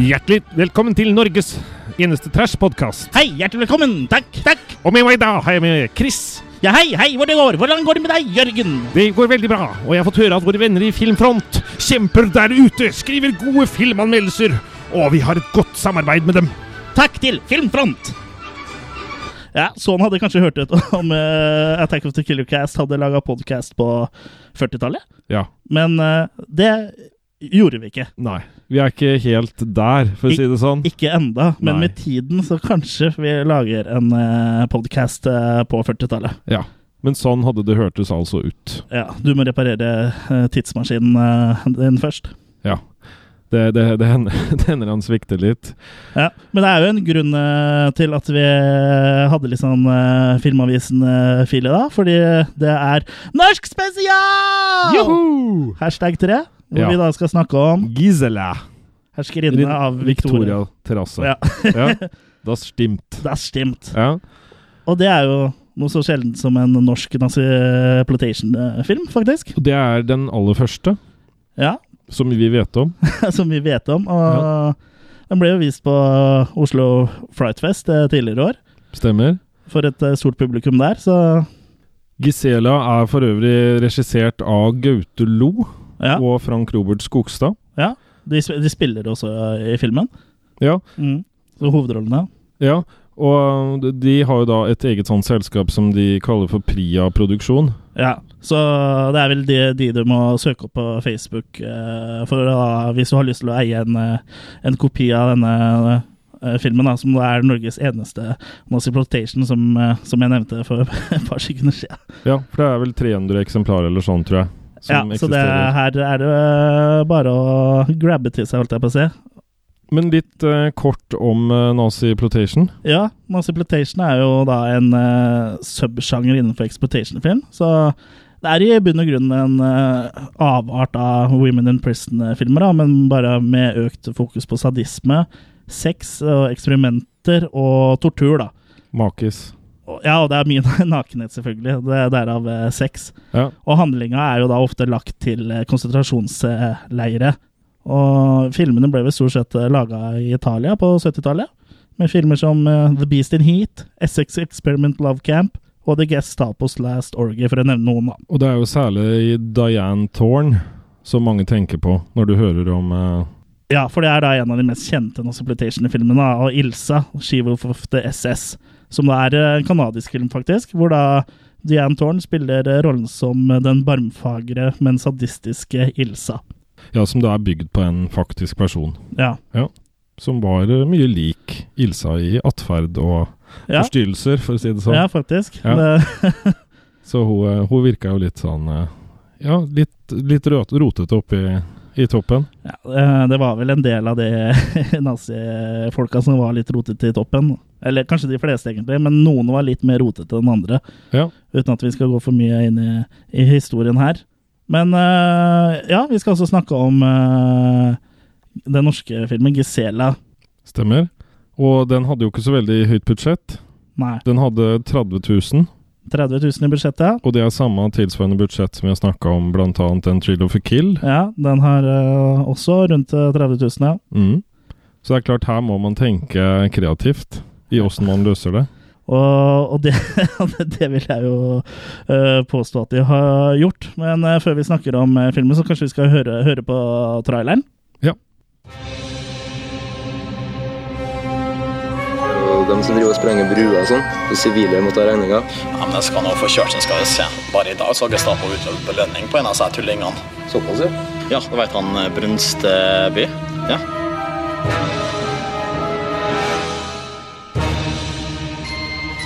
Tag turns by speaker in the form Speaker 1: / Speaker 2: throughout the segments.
Speaker 1: Hjertelig velkommen til Norges eneste trash-podkast.
Speaker 2: Hei, hjertelig velkommen. Takk, takk.
Speaker 1: Og med meg i dag har jeg med Chris.
Speaker 2: Ja, hei, hei, hvor det går? Hvordan går det med deg, Jørgen?
Speaker 1: Det går veldig bra, og jeg har fått høre at våre venner i Filmfront kjemper der ute, skriver gode filmanmeldelser, og vi har et godt samarbeid med dem.
Speaker 2: Takk til Filmfront. Ja, sånn hadde jeg kanskje hørt ut om eh, Attack of the Killer Cast hadde laga podkast på 40-tallet,
Speaker 3: Ja.
Speaker 2: men eh, det gjorde vi ikke.
Speaker 3: Nei. Vi er ikke helt der, for å si det sånn.
Speaker 2: Ikke enda, men
Speaker 3: Nei.
Speaker 2: med tiden så kanskje vi lager en uh, podkast på 40-tallet.
Speaker 3: Ja. Men sånn hadde det hørtes altså ut.
Speaker 2: Ja, du må reparere eh, tidsmaskinen eh, din først.
Speaker 3: Ja. Det, det, det, hender, det hender han svikter litt.
Speaker 2: Ja, Men det er jo en grunn eh, til at vi hadde litt sånn eh, Filmavisen-fil i dag, fordi det er Norsk spesial!
Speaker 3: Joho!
Speaker 2: Hashtag 3, hvor
Speaker 3: Ja.
Speaker 2: vi da skal snakke om
Speaker 3: Gisela.
Speaker 2: herskerinne av
Speaker 3: Victoria
Speaker 2: Victoria.
Speaker 3: Terrasse.
Speaker 2: Ja.
Speaker 3: Ja. Das stimmt.
Speaker 2: Det er stimt.
Speaker 3: Ja.
Speaker 2: Og det er jo noe så sjeldent som en norsk nazi-plotation-film, faktisk.
Speaker 3: Og Det er den aller første
Speaker 2: Ja,
Speaker 3: som vi vet om.
Speaker 2: Som vi vet om. Og den ble jo vist på Oslo Frightfest eh, tidligere i år,
Speaker 3: Stemmer.
Speaker 2: for et eh, stort publikum der, så
Speaker 3: Gisela er for øvrig regissert av Gaute Lo
Speaker 2: ja.
Speaker 3: og Frank Robert Skogstad.
Speaker 2: De, sp- de spiller også eh, i filmen.
Speaker 3: Ja.
Speaker 2: Mm. Så hovedrollene.
Speaker 3: ja. Og de har jo da et eget sånt selskap som de kaller for Pria Produksjon.
Speaker 2: Ja, så det er vel de, de du må søke opp på Facebook eh, for å, hvis du har lyst til å eie en, eh, en kopi av denne eh, filmen, da, som er Norges eneste Nazi-plotation, som, eh, som jeg nevnte for et par sekunder siden.
Speaker 3: Ja, for det er vel 300 eksemplarer eller sånn, tror jeg. Som
Speaker 2: Ja, så det,
Speaker 3: eksisterer.
Speaker 2: her er det eh, bare å grabbe til seg, holdt jeg på å si.
Speaker 3: Men litt eh, kort om eh, nazi plotation.
Speaker 2: Ja, Nazi-plotation er jo da en uh, subsjanger innenfor exploitation-film. Så det er i bunn og grunn en eh, avart av Women in Prison-filmer, da, men bare med økt fokus på sadisme, sex og eksperimenter og tortur, da.
Speaker 3: Makis.
Speaker 2: Og- Ja, og det er mye nakenhet, selvfølgelig. Det er derav eh, sex.
Speaker 3: Ja.
Speaker 2: Og handlinga er jo da ofte lagt til eh, konsentrasjonsleire. Og filmene ble vel stort sett laga i Italia på 70-tallet. Med filmer som eh, The Beast in Heat, Essex Experiment Love Camp og The Gestapos Last Orgy, for å nevne noen. da.
Speaker 3: Og det er jo særlig Diane Thorne som mange tenker på når du hører om eh,
Speaker 2: Ja, for det er da en av de mest kjente Nossiplitation-filmene, da, og Ilsa, She-Wolf of the SS, som da er eh, en kanadisk film, faktisk, hvor da Diane Thorne spiller eh, rollen som eh, den barmfagre, men sadistiske Ilsa.
Speaker 3: Ja, som da er bygd på en faktisk person.
Speaker 2: Ja.
Speaker 3: Som var eh, mye lik Ilsa i atferd og
Speaker 2: Ja.
Speaker 3: forstyrrelser, for å si det sånn.
Speaker 2: Ja, faktisk.
Speaker 3: Ja.
Speaker 2: Det,
Speaker 3: Så hun, eh, hun virka jo litt sånn eh, Ja, litt, litt røt- rotete oppi i toppen.
Speaker 2: Ja, eh, det var vel en del av de nazifolka som var litt rotete i toppen. Eller kanskje de fleste, egentlig, men noen var litt mer rotete enn andre.
Speaker 3: Ja.
Speaker 2: Uten at vi skal gå for mye inn i, i historien her. Men eh, ja, vi skal også snakke om eh, den norske filmen 'Gisela'.
Speaker 3: Stemmer. Og den hadde jo ikke så veldig høyt budsjett.
Speaker 2: Nei,
Speaker 3: Den hadde 30 000,
Speaker 2: 30 000 i budsjettet.
Speaker 3: og det er samme tilsvarende budsjett som vi har snakka om blant annet en Trill of a Kill.
Speaker 2: Ja, den har eh, også rundt eh, 30 000, ja.
Speaker 3: Mm. Så det er klart, her må man tenke kreativt i åssen man løser det.
Speaker 2: Og, og det, det vil jeg jo eh, påstå at de har gjort. Men eh, før vi snakker om eh, filmen, så kanskje vi skal høre, høre på traileren.
Speaker 4: Og de som driver og sprenger bruer og sånn. De sivile må ta regninga.
Speaker 5: Ja, men jeg skal nå få kjørt, så skal vi se. Bare i dag så har Gestapo utløpt belønning på en av seg tullingene.
Speaker 4: Såpass, ja.
Speaker 5: Ja, det vet han eh, Brunsteby. Ja.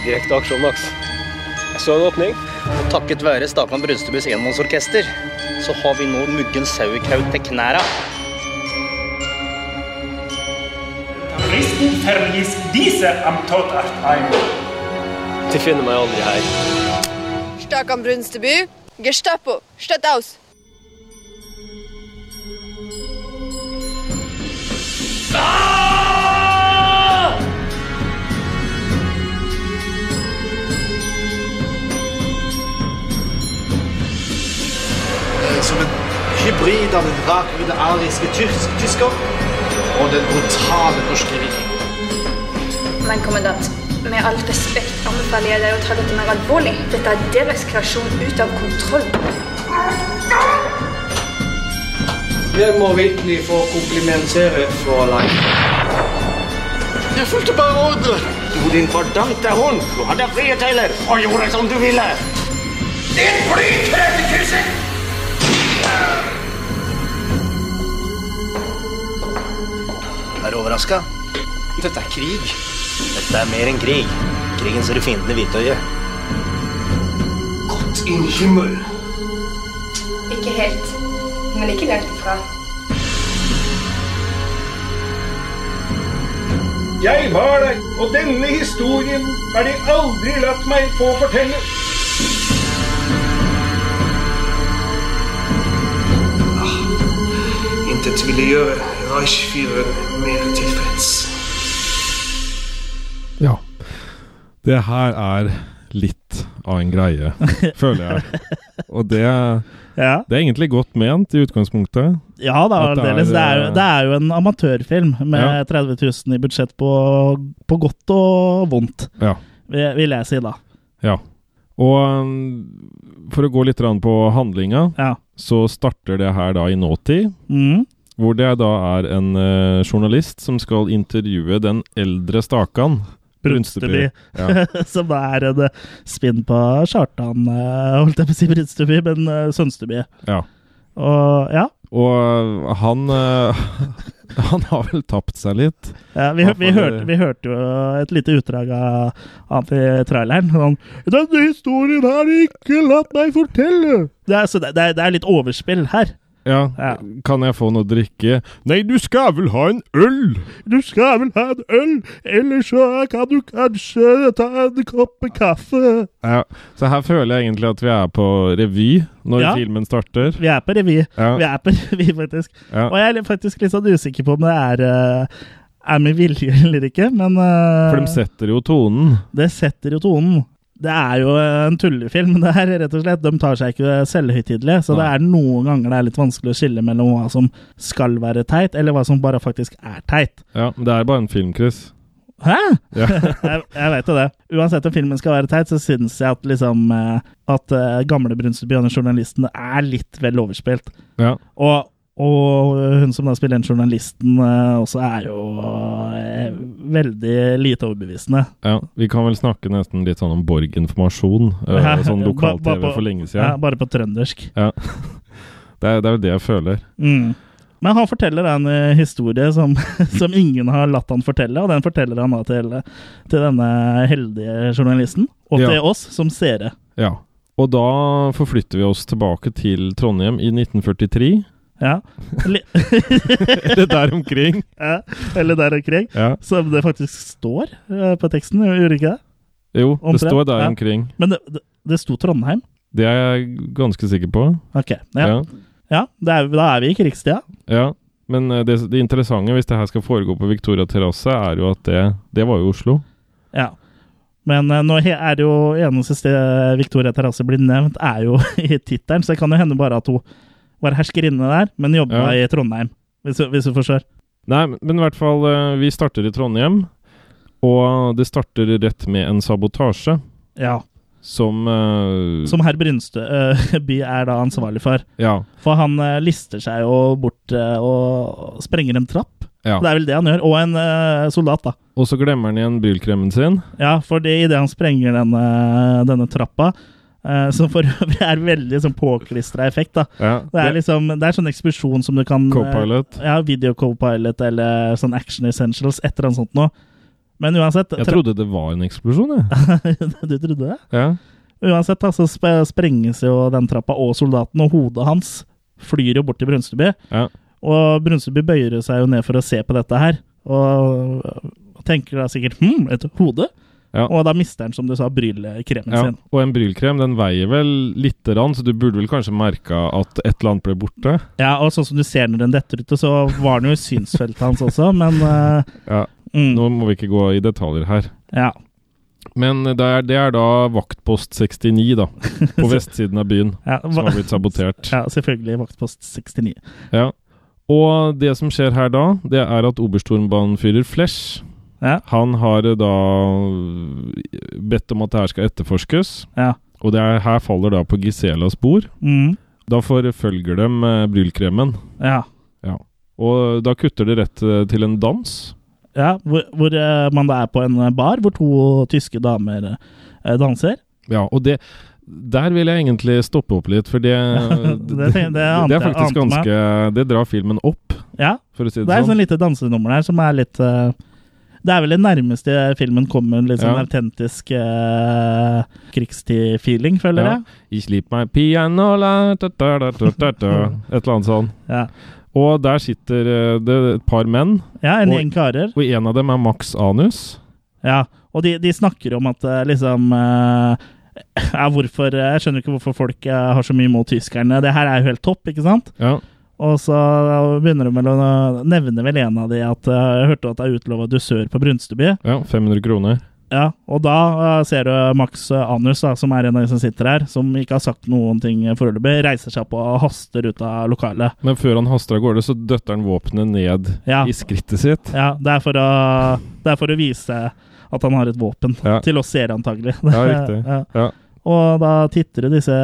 Speaker 4: Direkte aksjon, Max. Jeg så en åpning.
Speaker 6: Takket være Stakan Brunstebys enmannsorkester, så har vi nå Muggen Sauerkraut til knæra.
Speaker 7: Christen verließ diese am Totartheim.
Speaker 4: De finner meg aldri her.
Speaker 8: Stakan Brunsteby. Gestapo. Statt aus.
Speaker 9: som en hybrid av den rakrydde ariske tysk tysker og den brutale norske viking.
Speaker 10: Men kommandant, med all respekt anbefaler jeg deg å ta dette mer alvorlig. Dette er deres kreasjon ut av kontroll.
Speaker 9: Jeg må virkelig få komplimentere Fräulein. Jeg fulgte bare ordre.
Speaker 6: Jo, din fordømte hund! Du hadde frie tøyler og gjorde som du ville!
Speaker 9: Ditt fly krevde kursen!
Speaker 6: Er du overraska?
Speaker 9: Dette er krig.
Speaker 6: Dette er mer enn krig. Krigen ser du fienden i hvitøyet.
Speaker 9: Gott in Himmel.
Speaker 10: Ikke helt, men ikke langt ifra.
Speaker 7: Jeg var der, og denne historien har de aldri latt meg få fortelle.
Speaker 9: Ah, Intet ville gjøre Reichfyreren mer tilfreds.
Speaker 3: Ja. Det her er litt av en greie, føler jeg. Og det,
Speaker 2: Ja,
Speaker 3: det er egentlig godt ment i utgangspunktet.
Speaker 2: ja da,
Speaker 3: At det er,
Speaker 2: aldeles. Det, er, jo- det er jo en amatørfilm med
Speaker 3: Ja.
Speaker 2: 30 000 i budsjett på, på godt og vondt,
Speaker 3: Ja.
Speaker 2: vil vil jeg si da.
Speaker 3: ja. Og um, for å gå litt grann på handlinga,
Speaker 2: Ja.
Speaker 3: så starter det her da i nåtid.
Speaker 2: Mm.
Speaker 3: Hvor det da er en eh, journalist som skal intervjue den eldre stakan.
Speaker 2: Brunsteby.
Speaker 3: Ja.
Speaker 2: Som da er en eh, spinn på Kjartan, eh, holdt jeg på å si Brunsteby, men eh, Sønsteby.
Speaker 3: ja.
Speaker 2: Og ja,
Speaker 3: Og han eh, Han har vel tapt seg litt.
Speaker 2: ja vi,
Speaker 3: Hva
Speaker 2: vi,
Speaker 3: faen er
Speaker 2: hørte,
Speaker 3: det?
Speaker 2: vi hørte jo et lite utdrag av han i traileren. Sånn, 'Denne historien har de ikke latt meg fortelle!' Det er, så det, det er, det er litt overspill her.
Speaker 3: Ja.
Speaker 2: Ja.
Speaker 3: Kan jeg få noe å drikke? Nei, du skal vel ha en øl!
Speaker 2: Du skal vel ha en øl, ellers så kan du kanskje ta en kopp med kaffe.
Speaker 3: Ja. Så her føler jeg egentlig at vi er på revy når
Speaker 2: Ja.
Speaker 3: filmen starter.
Speaker 2: Vi er på revy.
Speaker 3: Ja.
Speaker 2: Vi er på revy, faktisk.
Speaker 3: Ja.
Speaker 2: Og jeg er litt- faktisk litt sånn usikker på om det er eh, er med vilje eller ikke, men eh,
Speaker 3: For de setter jo tonen.
Speaker 2: det setter jo tonen. Det er jo en tullefilm, det her, rett og slett. De tar seg ikke selvhøytidelig, så det
Speaker 3: Nei.
Speaker 2: er noen ganger det er litt vanskelig å skille mellom hva som skal være teit, eller hva som bare faktisk er teit.
Speaker 3: Ja, Men det er bare en film, Chris.
Speaker 2: Hæ?!
Speaker 3: Ja.
Speaker 2: jeg, jeg vet jo det. Uansett om filmen skal være teit, så syns jeg at liksom eh, At eh, gamle Brunsteby og journalistene er litt vel overspilt.
Speaker 3: ja.
Speaker 2: Og, og hun som da spiller den journalisten, eh, også er jo eh, veldig lite overbevisende.
Speaker 3: Ja, Vi kan vel snakke nesten litt sånn om Borg-informasjon. eh,
Speaker 2: Ja,
Speaker 3: Sånn
Speaker 2: ba- ba-
Speaker 3: lokal-TV
Speaker 2: på-
Speaker 3: for lenge
Speaker 2: Ja.
Speaker 3: siden.
Speaker 2: bare på trøndersk.
Speaker 3: Ja. Det er, det er jo det jeg føler.
Speaker 2: Mm. Men han forteller en eh, historie som, som ingen har latt han fortelle, og den forteller han da til, til denne heldige journalisten, og
Speaker 3: Ja.
Speaker 2: til oss som seere.
Speaker 3: Ja. Og da forflytter vi oss tilbake til Trondheim i 1943.
Speaker 2: Ja. Li-
Speaker 3: Eller der omkring.
Speaker 2: ja. Eller der omkring.
Speaker 3: Ja.
Speaker 2: Som det faktisk står eh, på teksten, gjør det ikke det?
Speaker 3: Jo,
Speaker 2: Omtrent,
Speaker 3: det står der
Speaker 2: ja.
Speaker 3: omkring.
Speaker 2: Men det, det, det sto Trondheim.
Speaker 3: Det er jeg ganske sikker på.
Speaker 2: Ok. Ja, ja.
Speaker 3: Ja.
Speaker 2: det er, da er vi i krigstida.
Speaker 3: ja. Men eh, det, det interessante hvis det her skal foregå på Victoria terrasse, er jo at det, det var jo Oslo.
Speaker 2: Ja. Men eh, nå he- er det jo eneste sted eh, Victoria Terrasse blir nevnt, er jo i tittelen, så det kan jo hende bare at hun var herskerinne der, men jobba
Speaker 3: Ja.
Speaker 2: i Trondheim, hvis, du- hvis du forstår.
Speaker 3: Nei, men i hvert fall, eh, vi starter i Trondheim. Og det starter rett med en sabotasje
Speaker 2: Ja.
Speaker 3: som, eh,
Speaker 2: Som herr Brunsteby er da ansvarlig for.
Speaker 3: Ja.
Speaker 2: For han eh, lister seg jo bort eh, og sprenger en trapp.
Speaker 3: ja.
Speaker 2: Det er vel det han gjør. Og en eh, soldat, da.
Speaker 3: Og så glemmer han igjen brylkremen sin.
Speaker 2: Ja, for idet han sprenger denne, denne trappa, eh, som for øvrig er veldig sånn påklistra effekt, da.
Speaker 3: Ja,
Speaker 2: Det er liksom, det er sånn eksplosjon som du kan eh,
Speaker 3: Copilot.
Speaker 2: Ja, video copilot eller sånn Action Essentials, et eller annet sånt noe. Men uansett
Speaker 3: Jeg trodde det var en eksplosjon, jeg.
Speaker 2: Du trodde det?
Speaker 3: Ja.
Speaker 2: Uansett, da, så sp sprenges jo den trappa og soldaten, og hodet hans flyr jo bort til Brunsteby.
Speaker 3: Ja.
Speaker 2: Og Brunsteby bøyer seg jo ned for å se på dette her, og tenker da sikkert hm, et hode?
Speaker 3: Ja.
Speaker 2: Og da mister han, som du sa, bryllekremen
Speaker 3: Ja,
Speaker 2: sin.
Speaker 3: og en brylkrem den veier vel lite grann, så du burde vel kanskje merka at et eller annet ble borte.
Speaker 2: Ja, og sånn som du ser når den detter ut, og så var den jo i synsfeltet hans også, men eh,
Speaker 3: Ja,
Speaker 2: mm,
Speaker 3: Nå må vi ikke gå i detaljer her.
Speaker 2: ja.
Speaker 3: Men det er, det er da vaktpost 69, da. På vestsiden av byen,
Speaker 2: Ja,
Speaker 3: som
Speaker 2: va
Speaker 3: har blitt sabotert.
Speaker 2: ja, selvfølgelig vaktpost 69.
Speaker 3: Ja. Og det som skjer her da, det er at oberststormbannfyrer Flesh
Speaker 2: Ja.
Speaker 3: Han har eh, da bedt om at det her skal etterforskes.
Speaker 2: Ja.
Speaker 3: Og det er, her faller da på Giselas spor.
Speaker 2: Mm.
Speaker 3: Da forfølger de eh, Bryllkremen.
Speaker 2: Ja.
Speaker 3: Og da kutter det rett eh, til en dans.
Speaker 2: ja. Hvor, hvor eh, man da er på en bar hvor to tyske damer eh, danser.
Speaker 3: Ja, og det Der vil jeg egentlig stoppe opp litt, for det
Speaker 2: det tenk- det
Speaker 3: det
Speaker 2: ante-
Speaker 3: er faktisk
Speaker 2: ante meg.
Speaker 3: ganske Det drar filmen opp,
Speaker 2: Ja.
Speaker 3: for å si det,
Speaker 2: Det er et
Speaker 3: sånn.
Speaker 2: sånn lite dansenummer der som er litt eh, Det er vel det nærmeste filmen kommer litt sånn
Speaker 3: Ja.
Speaker 2: autentisk uh, krigstid-feeling, føler
Speaker 3: Ja. Ich lieb meg piano la, ta, ta, ta, ta, ta, ta. Et eller annet sånn.
Speaker 2: jeg. Ja.
Speaker 3: Og der sitter eh, det et par menn,
Speaker 2: ja, en
Speaker 3: Og-
Speaker 2: gjeng karer.
Speaker 3: og en av dem er Max Anus.
Speaker 2: Ja. Og de, de snakker om at eh, liksom eh, ja, hvorfor, Jeg skjønner ikke hvorfor folk eh, har så mye mot tyskerne. Det her er jo helt topp, ikke sant?
Speaker 3: Ja.
Speaker 2: Og så begynner de vel å nevne vel en av de at eh, jeg hørte at det er utlova dusør på Brunsteby.
Speaker 3: ja 500 kroner.
Speaker 2: Ja, og da eh, ser du Max eh, Anus, da, som er en av de som sitter her, som ikke har sagt noen ting eh, foreløpig, reiser seg opp og haster ut av lokalet.
Speaker 3: Men før han haster av gårde, så døtter han våpenet ned
Speaker 2: Ja.
Speaker 3: i skrittet sitt.
Speaker 2: Ja, det er for å, det er for å vise at han har et våpen.
Speaker 3: Ja.
Speaker 2: Til oss seere, antagelig.
Speaker 3: Ja, riktig.
Speaker 2: Ja.
Speaker 3: Ja.
Speaker 2: Og da titter jo disse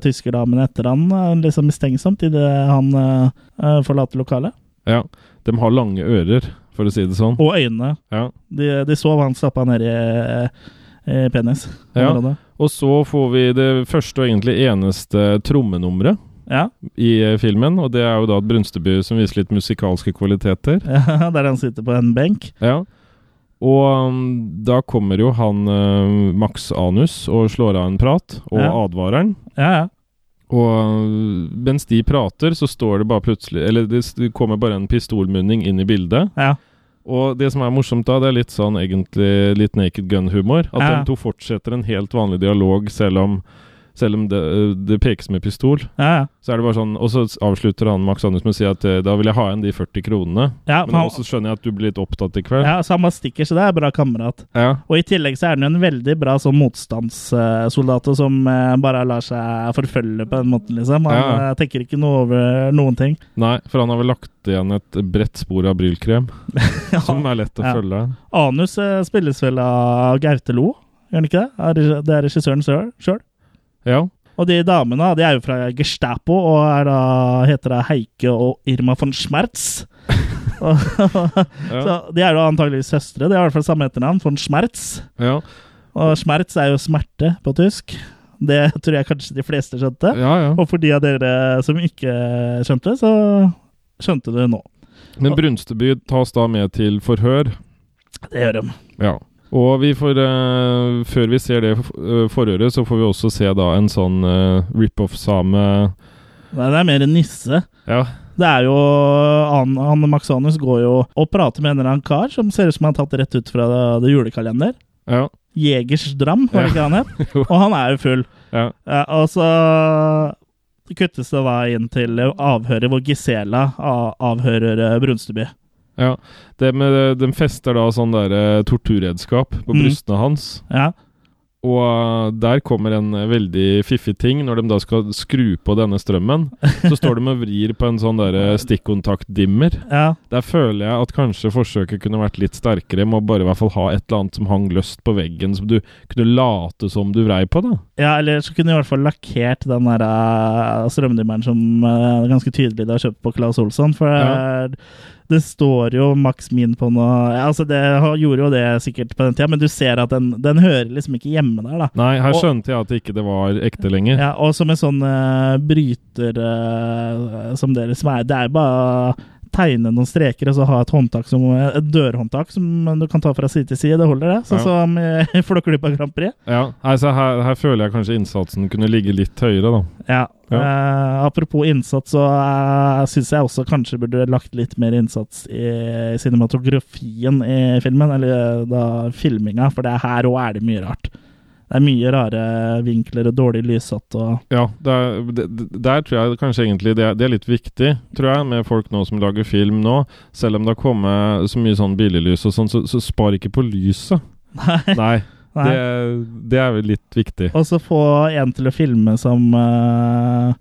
Speaker 2: tyskerdamene etter han, eh, liksom mistenksomt, idet han eh, eh, forlater lokalet.
Speaker 3: ja. De har lange ører, for å si det sånn.
Speaker 2: Og øynene.
Speaker 3: Ja.
Speaker 2: De, de så hva han stappa ned i, i penis.
Speaker 3: Ja. Og så får vi det første og egentlig eneste trommenummeret.
Speaker 2: ja.
Speaker 3: i eh, filmen, og det er jo da et Brunsteby som viser litt musikalske kvaliteter.
Speaker 2: Ja, Der han sitter på en benk.
Speaker 3: Ja. Og um, da kommer jo han eh, Max Anus og slår av en prat, og
Speaker 2: Ja.
Speaker 3: advarer han.
Speaker 2: Ja, ja.
Speaker 3: Og eh, mens de prater, så står det bare plutselig Eller det s- det kommer bare en pistolmunning inn i bildet.
Speaker 2: Ja.
Speaker 3: Og det som er morsomt da, det er litt sånn egentlig litt Naked Gun-humor. At
Speaker 2: Ja.
Speaker 3: de to fortsetter en helt vanlig dialog selv om, selv om det, det pekes med pistol.
Speaker 2: Ja, ja.
Speaker 3: Så er det bare sånn, Og så avslutter han Max Anders med å si at eh, da vil jeg ha igjen de 40 kronene.
Speaker 2: Ja,
Speaker 3: Men
Speaker 2: for han,
Speaker 3: også skjønner jeg at du blir litt opptatt i kveld.
Speaker 2: ja, så han bare stikker, så det er bra kamerat.
Speaker 3: Ja.
Speaker 2: Og i tillegg så er han jo en veldig bra sånn motstandssoldat og som eh, bare lar seg forfølge på den måten, liksom. Han
Speaker 3: Ja.
Speaker 2: eh, tenker ikke noe over noen ting.
Speaker 3: Nei, for han har vel lagt igjen et bredt spor av brylkrem, som er lett å
Speaker 2: Ja.
Speaker 3: følge.
Speaker 2: Anus eh, spilles vel av Gaute Lo, gjør han ikke det? Er regi- Det er regissøren sjøl.
Speaker 3: Ja.
Speaker 2: Og de damene da, de er jo fra Gestapo og er da, heter da Heike og Irma von Schmerz. Og-
Speaker 3: Ja.
Speaker 2: så de er jo antageligvis søstre. De har i hvert fall samme etternavn, von Schmerz.
Speaker 3: ja.
Speaker 2: Og smerts er jo smerte på tysk. Det tror jeg kanskje de fleste skjønte.
Speaker 3: ja, ja.
Speaker 2: Og for de av dere som ikke skjønte, så skjønte du nå.
Speaker 3: Men Brunsteby tas da med til forhør.
Speaker 2: Det gjør de.
Speaker 3: Ja. Og vi får, eh, før vi ser det f- eh, forhøret, så får vi også se da en sånn eh, rip-off-same
Speaker 2: Nei, det er mer en nisse.
Speaker 3: Ja.
Speaker 2: Det er jo han, han Maxanus går jo og prater med en eller annen kar som ser ut som han er tatt rett ut fra det, det julekalender.
Speaker 3: Ja.
Speaker 2: Jegersdram, var det ikke han het?
Speaker 3: Jo.
Speaker 2: Og han er jo full.
Speaker 3: ja.
Speaker 2: Ja, og så kuttes det da inn til avhøret hvor Gisela a- avhører eh, Brunsteby.
Speaker 3: ja. Det med, de fester da sånn der eh, torturredskap på
Speaker 2: Mm.
Speaker 3: brystene hans.
Speaker 2: Ja.
Speaker 3: Og eh, der kommer en eh, veldig fiffig ting. Når de da skal skru på denne strømmen, så står de og vrir på en sånn der, eh, stikkontaktdimmer.
Speaker 2: ja.
Speaker 3: Der føler jeg at kanskje forsøket kunne vært litt sterkere. Må bare i hvert fall ha et eller annet som hang løst på veggen, som du kunne late som du vrei på, da.
Speaker 2: Ja, eller så kunne du i hvert fall lakkert den der eh, strømdimmeren som eh, er ganske tydelig du har kjøpt på Claes Olsson, for
Speaker 3: Ja.
Speaker 2: eh, det står jo Max Min på noe ja, Altså, det har- gjorde jo det sikkert på den tida, men du ser at den, den hører liksom ikke hjemme der, da.
Speaker 3: Nei, her
Speaker 2: Og-
Speaker 3: skjønte jeg at det ikke det var ekte lenger.
Speaker 2: Ja, og som en sånn eh, bryter eh, som dere som er Det er jo bare å tegne noen streker og så ha et håndtak som Et dørhåndtak som du kan ta fra side til side. Det holder, det. Sånn
Speaker 3: Ja.
Speaker 2: som i Flåklypa Grand Prix.
Speaker 3: Ja, Nei, så her, her føler jeg kanskje innsatsen kunne ligge litt høyere, da.
Speaker 2: Ja. eh, apropos innsats, så uh, syns jeg også kanskje burde lagt litt mer innsats i cinematografien i filmen, eller eh, da filminga, for det er her òg er det mye rart. Det er mye rare vinkler og dårlig lyssatt og
Speaker 3: Ja, der, der tror jeg kanskje egentlig det, er- det er litt viktig, tror jeg, med folk nå som lager film nå. Selv om det har kommet så mye sånn billiglys og sånn, så, så spar ikke på lyset.
Speaker 2: Nei.
Speaker 3: Nei,
Speaker 2: Nei.
Speaker 3: Det, det er vel litt viktig.
Speaker 2: Og så få en til å filme som eh,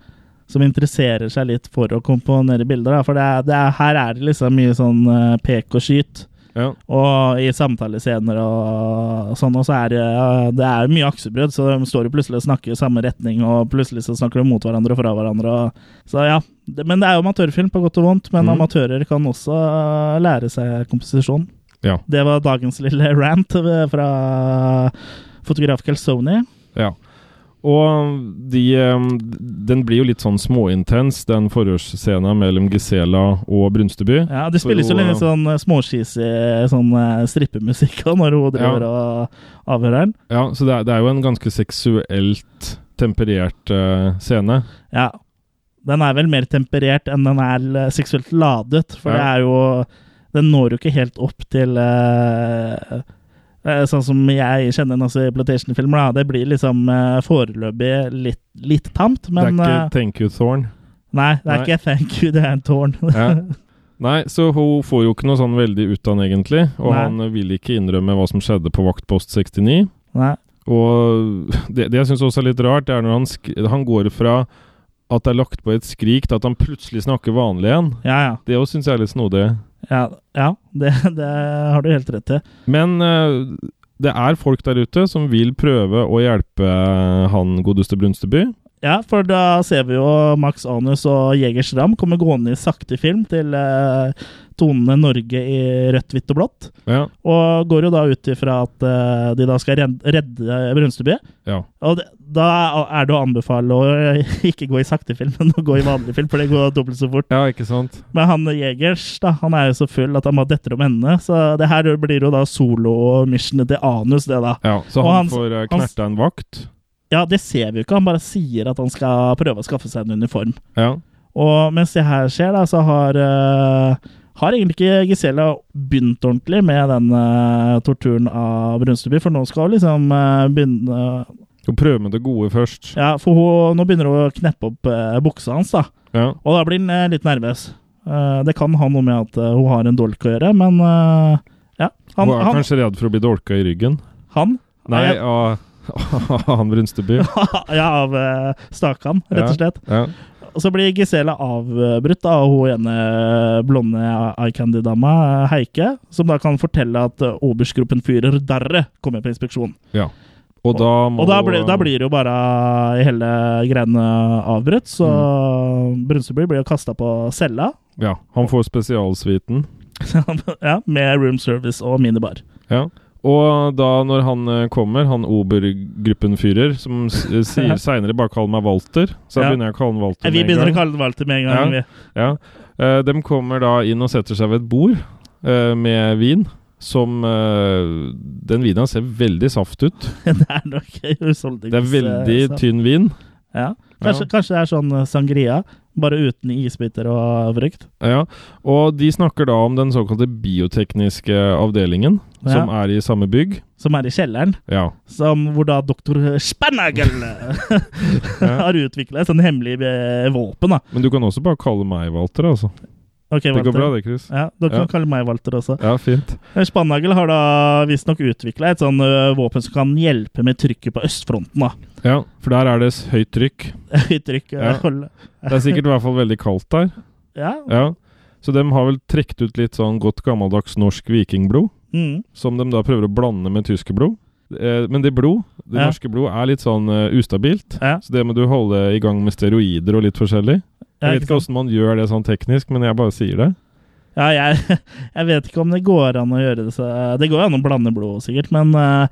Speaker 2: som interesserer seg litt for å komponere bilder. Da. For det er, det er, her er det liksom mye sånn eh, pek og skyt.
Speaker 3: Ja.
Speaker 2: Og i samtalescener og sånn, og så er det, det er jo mye aksebrudd, så de står jo plutselig og snakker i samme retning, og plutselig så snakker de mot hverandre og fra hverandre. Og, så ja, det, Men det er jo amatørfilm på godt og vondt, men
Speaker 3: Mhm.
Speaker 2: amatører kan også eh, lære seg komposisjon.
Speaker 3: Ja.
Speaker 2: Det var dagens lille rant eh, fra fotograf Calzoni.
Speaker 3: Ja. Og de, eh, den blir jo litt sånn småintens, den forhørsscena mellom Gisela og Brunsteby.
Speaker 2: Ja, det
Speaker 3: For
Speaker 2: spilles jo
Speaker 3: jo,
Speaker 2: litt
Speaker 3: eh,
Speaker 2: sånn eh, småskisig sånn eh, strippemusikk og når hun driver og avhører den.
Speaker 3: Ja, så det er, det er jo en ganske seksuelt temperert eh, scene.
Speaker 2: Ja. Den er vel mer temperert enn den er eh, seksuelt ladet, for
Speaker 3: Ja.
Speaker 2: det er jo Den når jo ikke helt opp til eh, eh, Sånn som jeg kjenner den også i Plantation-filmer, da. Det blir liksom eh, foreløpig litt, litt tamt, men
Speaker 3: det er
Speaker 2: eh,
Speaker 3: ikke 'thank you, Thorn'.
Speaker 2: Nei, det er
Speaker 3: Nei.
Speaker 2: ikke 'thank you', det er en tårn.
Speaker 3: Ja. Nei, så hun får jo ikke noe sånn veldig ut av den, egentlig. Og
Speaker 2: Nei.
Speaker 3: han vil ikke innrømme hva som skjedde på vaktpost 69.
Speaker 2: Nei.
Speaker 3: Og det, det jeg syns også er litt rart, det er når han, sk han går fra at det er lagt på et skrik, til at han plutselig snakker vanlig igjen.
Speaker 2: Ja, ja.
Speaker 3: Det òg syns jeg er litt snodig.
Speaker 2: Ja, ja det, det har du helt rett i.
Speaker 3: Men eh, det er folk der ute som vil prøve å hjelpe eh, han godeste Brunsteby.
Speaker 2: Ja, for da ser vi jo Max Anus og Jeger Schram komme gående i sakte film til eh, tonene Norge i rødt, hvitt og blått.
Speaker 3: Ja.
Speaker 2: Og går jo da ut ifra at eh, de da skal redde, redde Brunsteby.
Speaker 3: ja.
Speaker 2: Og det, da er det å anbefale å ikke gå i sakte film, men å gå i vanlig film, for det går dobbelt så fort.
Speaker 3: Ja, ikke sant?
Speaker 2: Men han Jegers da, han er jo så full at han bare detter om ende, så det her blir jo da solo-missionet til Anus, det da.
Speaker 3: Ja, Så
Speaker 2: Og
Speaker 3: han,
Speaker 2: han-
Speaker 3: får eh,
Speaker 2: han-
Speaker 3: knerta en vakt.
Speaker 2: Ja, det ser vi jo ikke, han bare sier at han skal prøve å skaffe seg en uniform.
Speaker 3: Ja.
Speaker 2: Og mens det her skjer, da, så har eh, har egentlig ikke Gisela begynt ordentlig med den eh, torturen av Brunsteby, for nå skal hun liksom eh, begynne
Speaker 3: Og prøve med det gode først.
Speaker 2: Ja, for hun, nå begynner hun å kneppe opp eh, buksa hans, da.
Speaker 3: Ja.
Speaker 2: Og da blir han eh, litt nervøs. Eh, det kan ha noe med at eh, hun har en dolk å gjøre, men eh, ja. Han,
Speaker 3: Hun er
Speaker 2: han,
Speaker 3: kanskje redd for å bli dolka i ryggen.
Speaker 2: han
Speaker 3: Nei,
Speaker 2: jeg-
Speaker 3: av- han Brunsteby.
Speaker 2: ja, av eh, Stakan, rett og slett.
Speaker 3: Ja.
Speaker 2: Og så blir Gisela avbrutt av hun ene blonde eye candy-dama, Heike, som da kan fortelle at eh, oberstgruppenführer Darre kommer på inspeksjon.
Speaker 3: ja. Og da må
Speaker 2: Og da, blir- da blir det jo bare hele greiene avbrutt, så
Speaker 3: Mm.
Speaker 2: Brunsebry blir jo kasta på cella.
Speaker 3: Ja, han får spesialsuiten.
Speaker 2: ja, med room service og minibar.
Speaker 3: Ja. Og da når han eh, kommer, han Obergruppenführer, som s- eh, sier seinere bare kall meg Walter, så
Speaker 2: Ja.
Speaker 3: begynner jeg å kalle han Walter
Speaker 2: Eh, Vi
Speaker 3: med en
Speaker 2: begynner å
Speaker 3: gang.
Speaker 2: kalle det Walter med en gang. vi.
Speaker 3: Ja. Eh, de kommer da inn og setter seg ved et bord eh, med vin. Som eh, Den vinen ser veldig saft ut.
Speaker 2: Det er nok husholdnings...
Speaker 3: Det er veldig
Speaker 2: eh, sak.
Speaker 3: tynn vin.
Speaker 2: Ja. Kanskje, kanskje det er sånn eh, sangria, bare uten isbiter og frukt.
Speaker 3: Ja, og de snakker da om den såkalte biotekniske avdelingen,
Speaker 2: Ja.
Speaker 3: som er i samme bygg.
Speaker 2: Som er i kjelleren.
Speaker 3: Ja.
Speaker 2: Som, hvor da doktor Spernagel har utvikla et sånn hemmelig eh, våpen. da.
Speaker 3: Men du kan også bare kalle meg Walter, altså.
Speaker 2: Ok,
Speaker 3: Det går
Speaker 2: Walter.
Speaker 3: bra det, Chris.
Speaker 2: Ja, Dere
Speaker 3: Ja.
Speaker 2: kan kalle meg Walter også.
Speaker 3: Ja, fint.
Speaker 2: Spannagel har da visstnok utvikla et sånn ø, våpen som kan hjelpe med trykket på østfronten. da.
Speaker 3: Ja, for der er det s- høyt trykk.
Speaker 2: Høyt trykk.
Speaker 3: Ja.
Speaker 2: Ja. Hold.
Speaker 3: Det er sikkert i hvert fall veldig kaldt der.
Speaker 2: Ja.
Speaker 3: Ja. Så de har vel trukket ut litt sånn godt gammeldags norsk vikingblod,
Speaker 2: Mm.
Speaker 3: som de da prøver å blande med tyske blod. Eh, Men det blod, det
Speaker 2: Ja.
Speaker 3: norske blod, er litt sånn eh, ustabilt.
Speaker 2: Ja.
Speaker 3: Så det må du holde i gang med steroider og litt forskjellig.
Speaker 2: Ja,
Speaker 3: Jeg vet
Speaker 2: ikke
Speaker 3: ikke
Speaker 2: sant?
Speaker 3: åssen man gjør det sånn teknisk, men jeg bare sier det.
Speaker 2: ja, jeg, jeg vet ikke om det går an å gjøre det så eh, Det går jo an å blande blod, sikkert, men ø,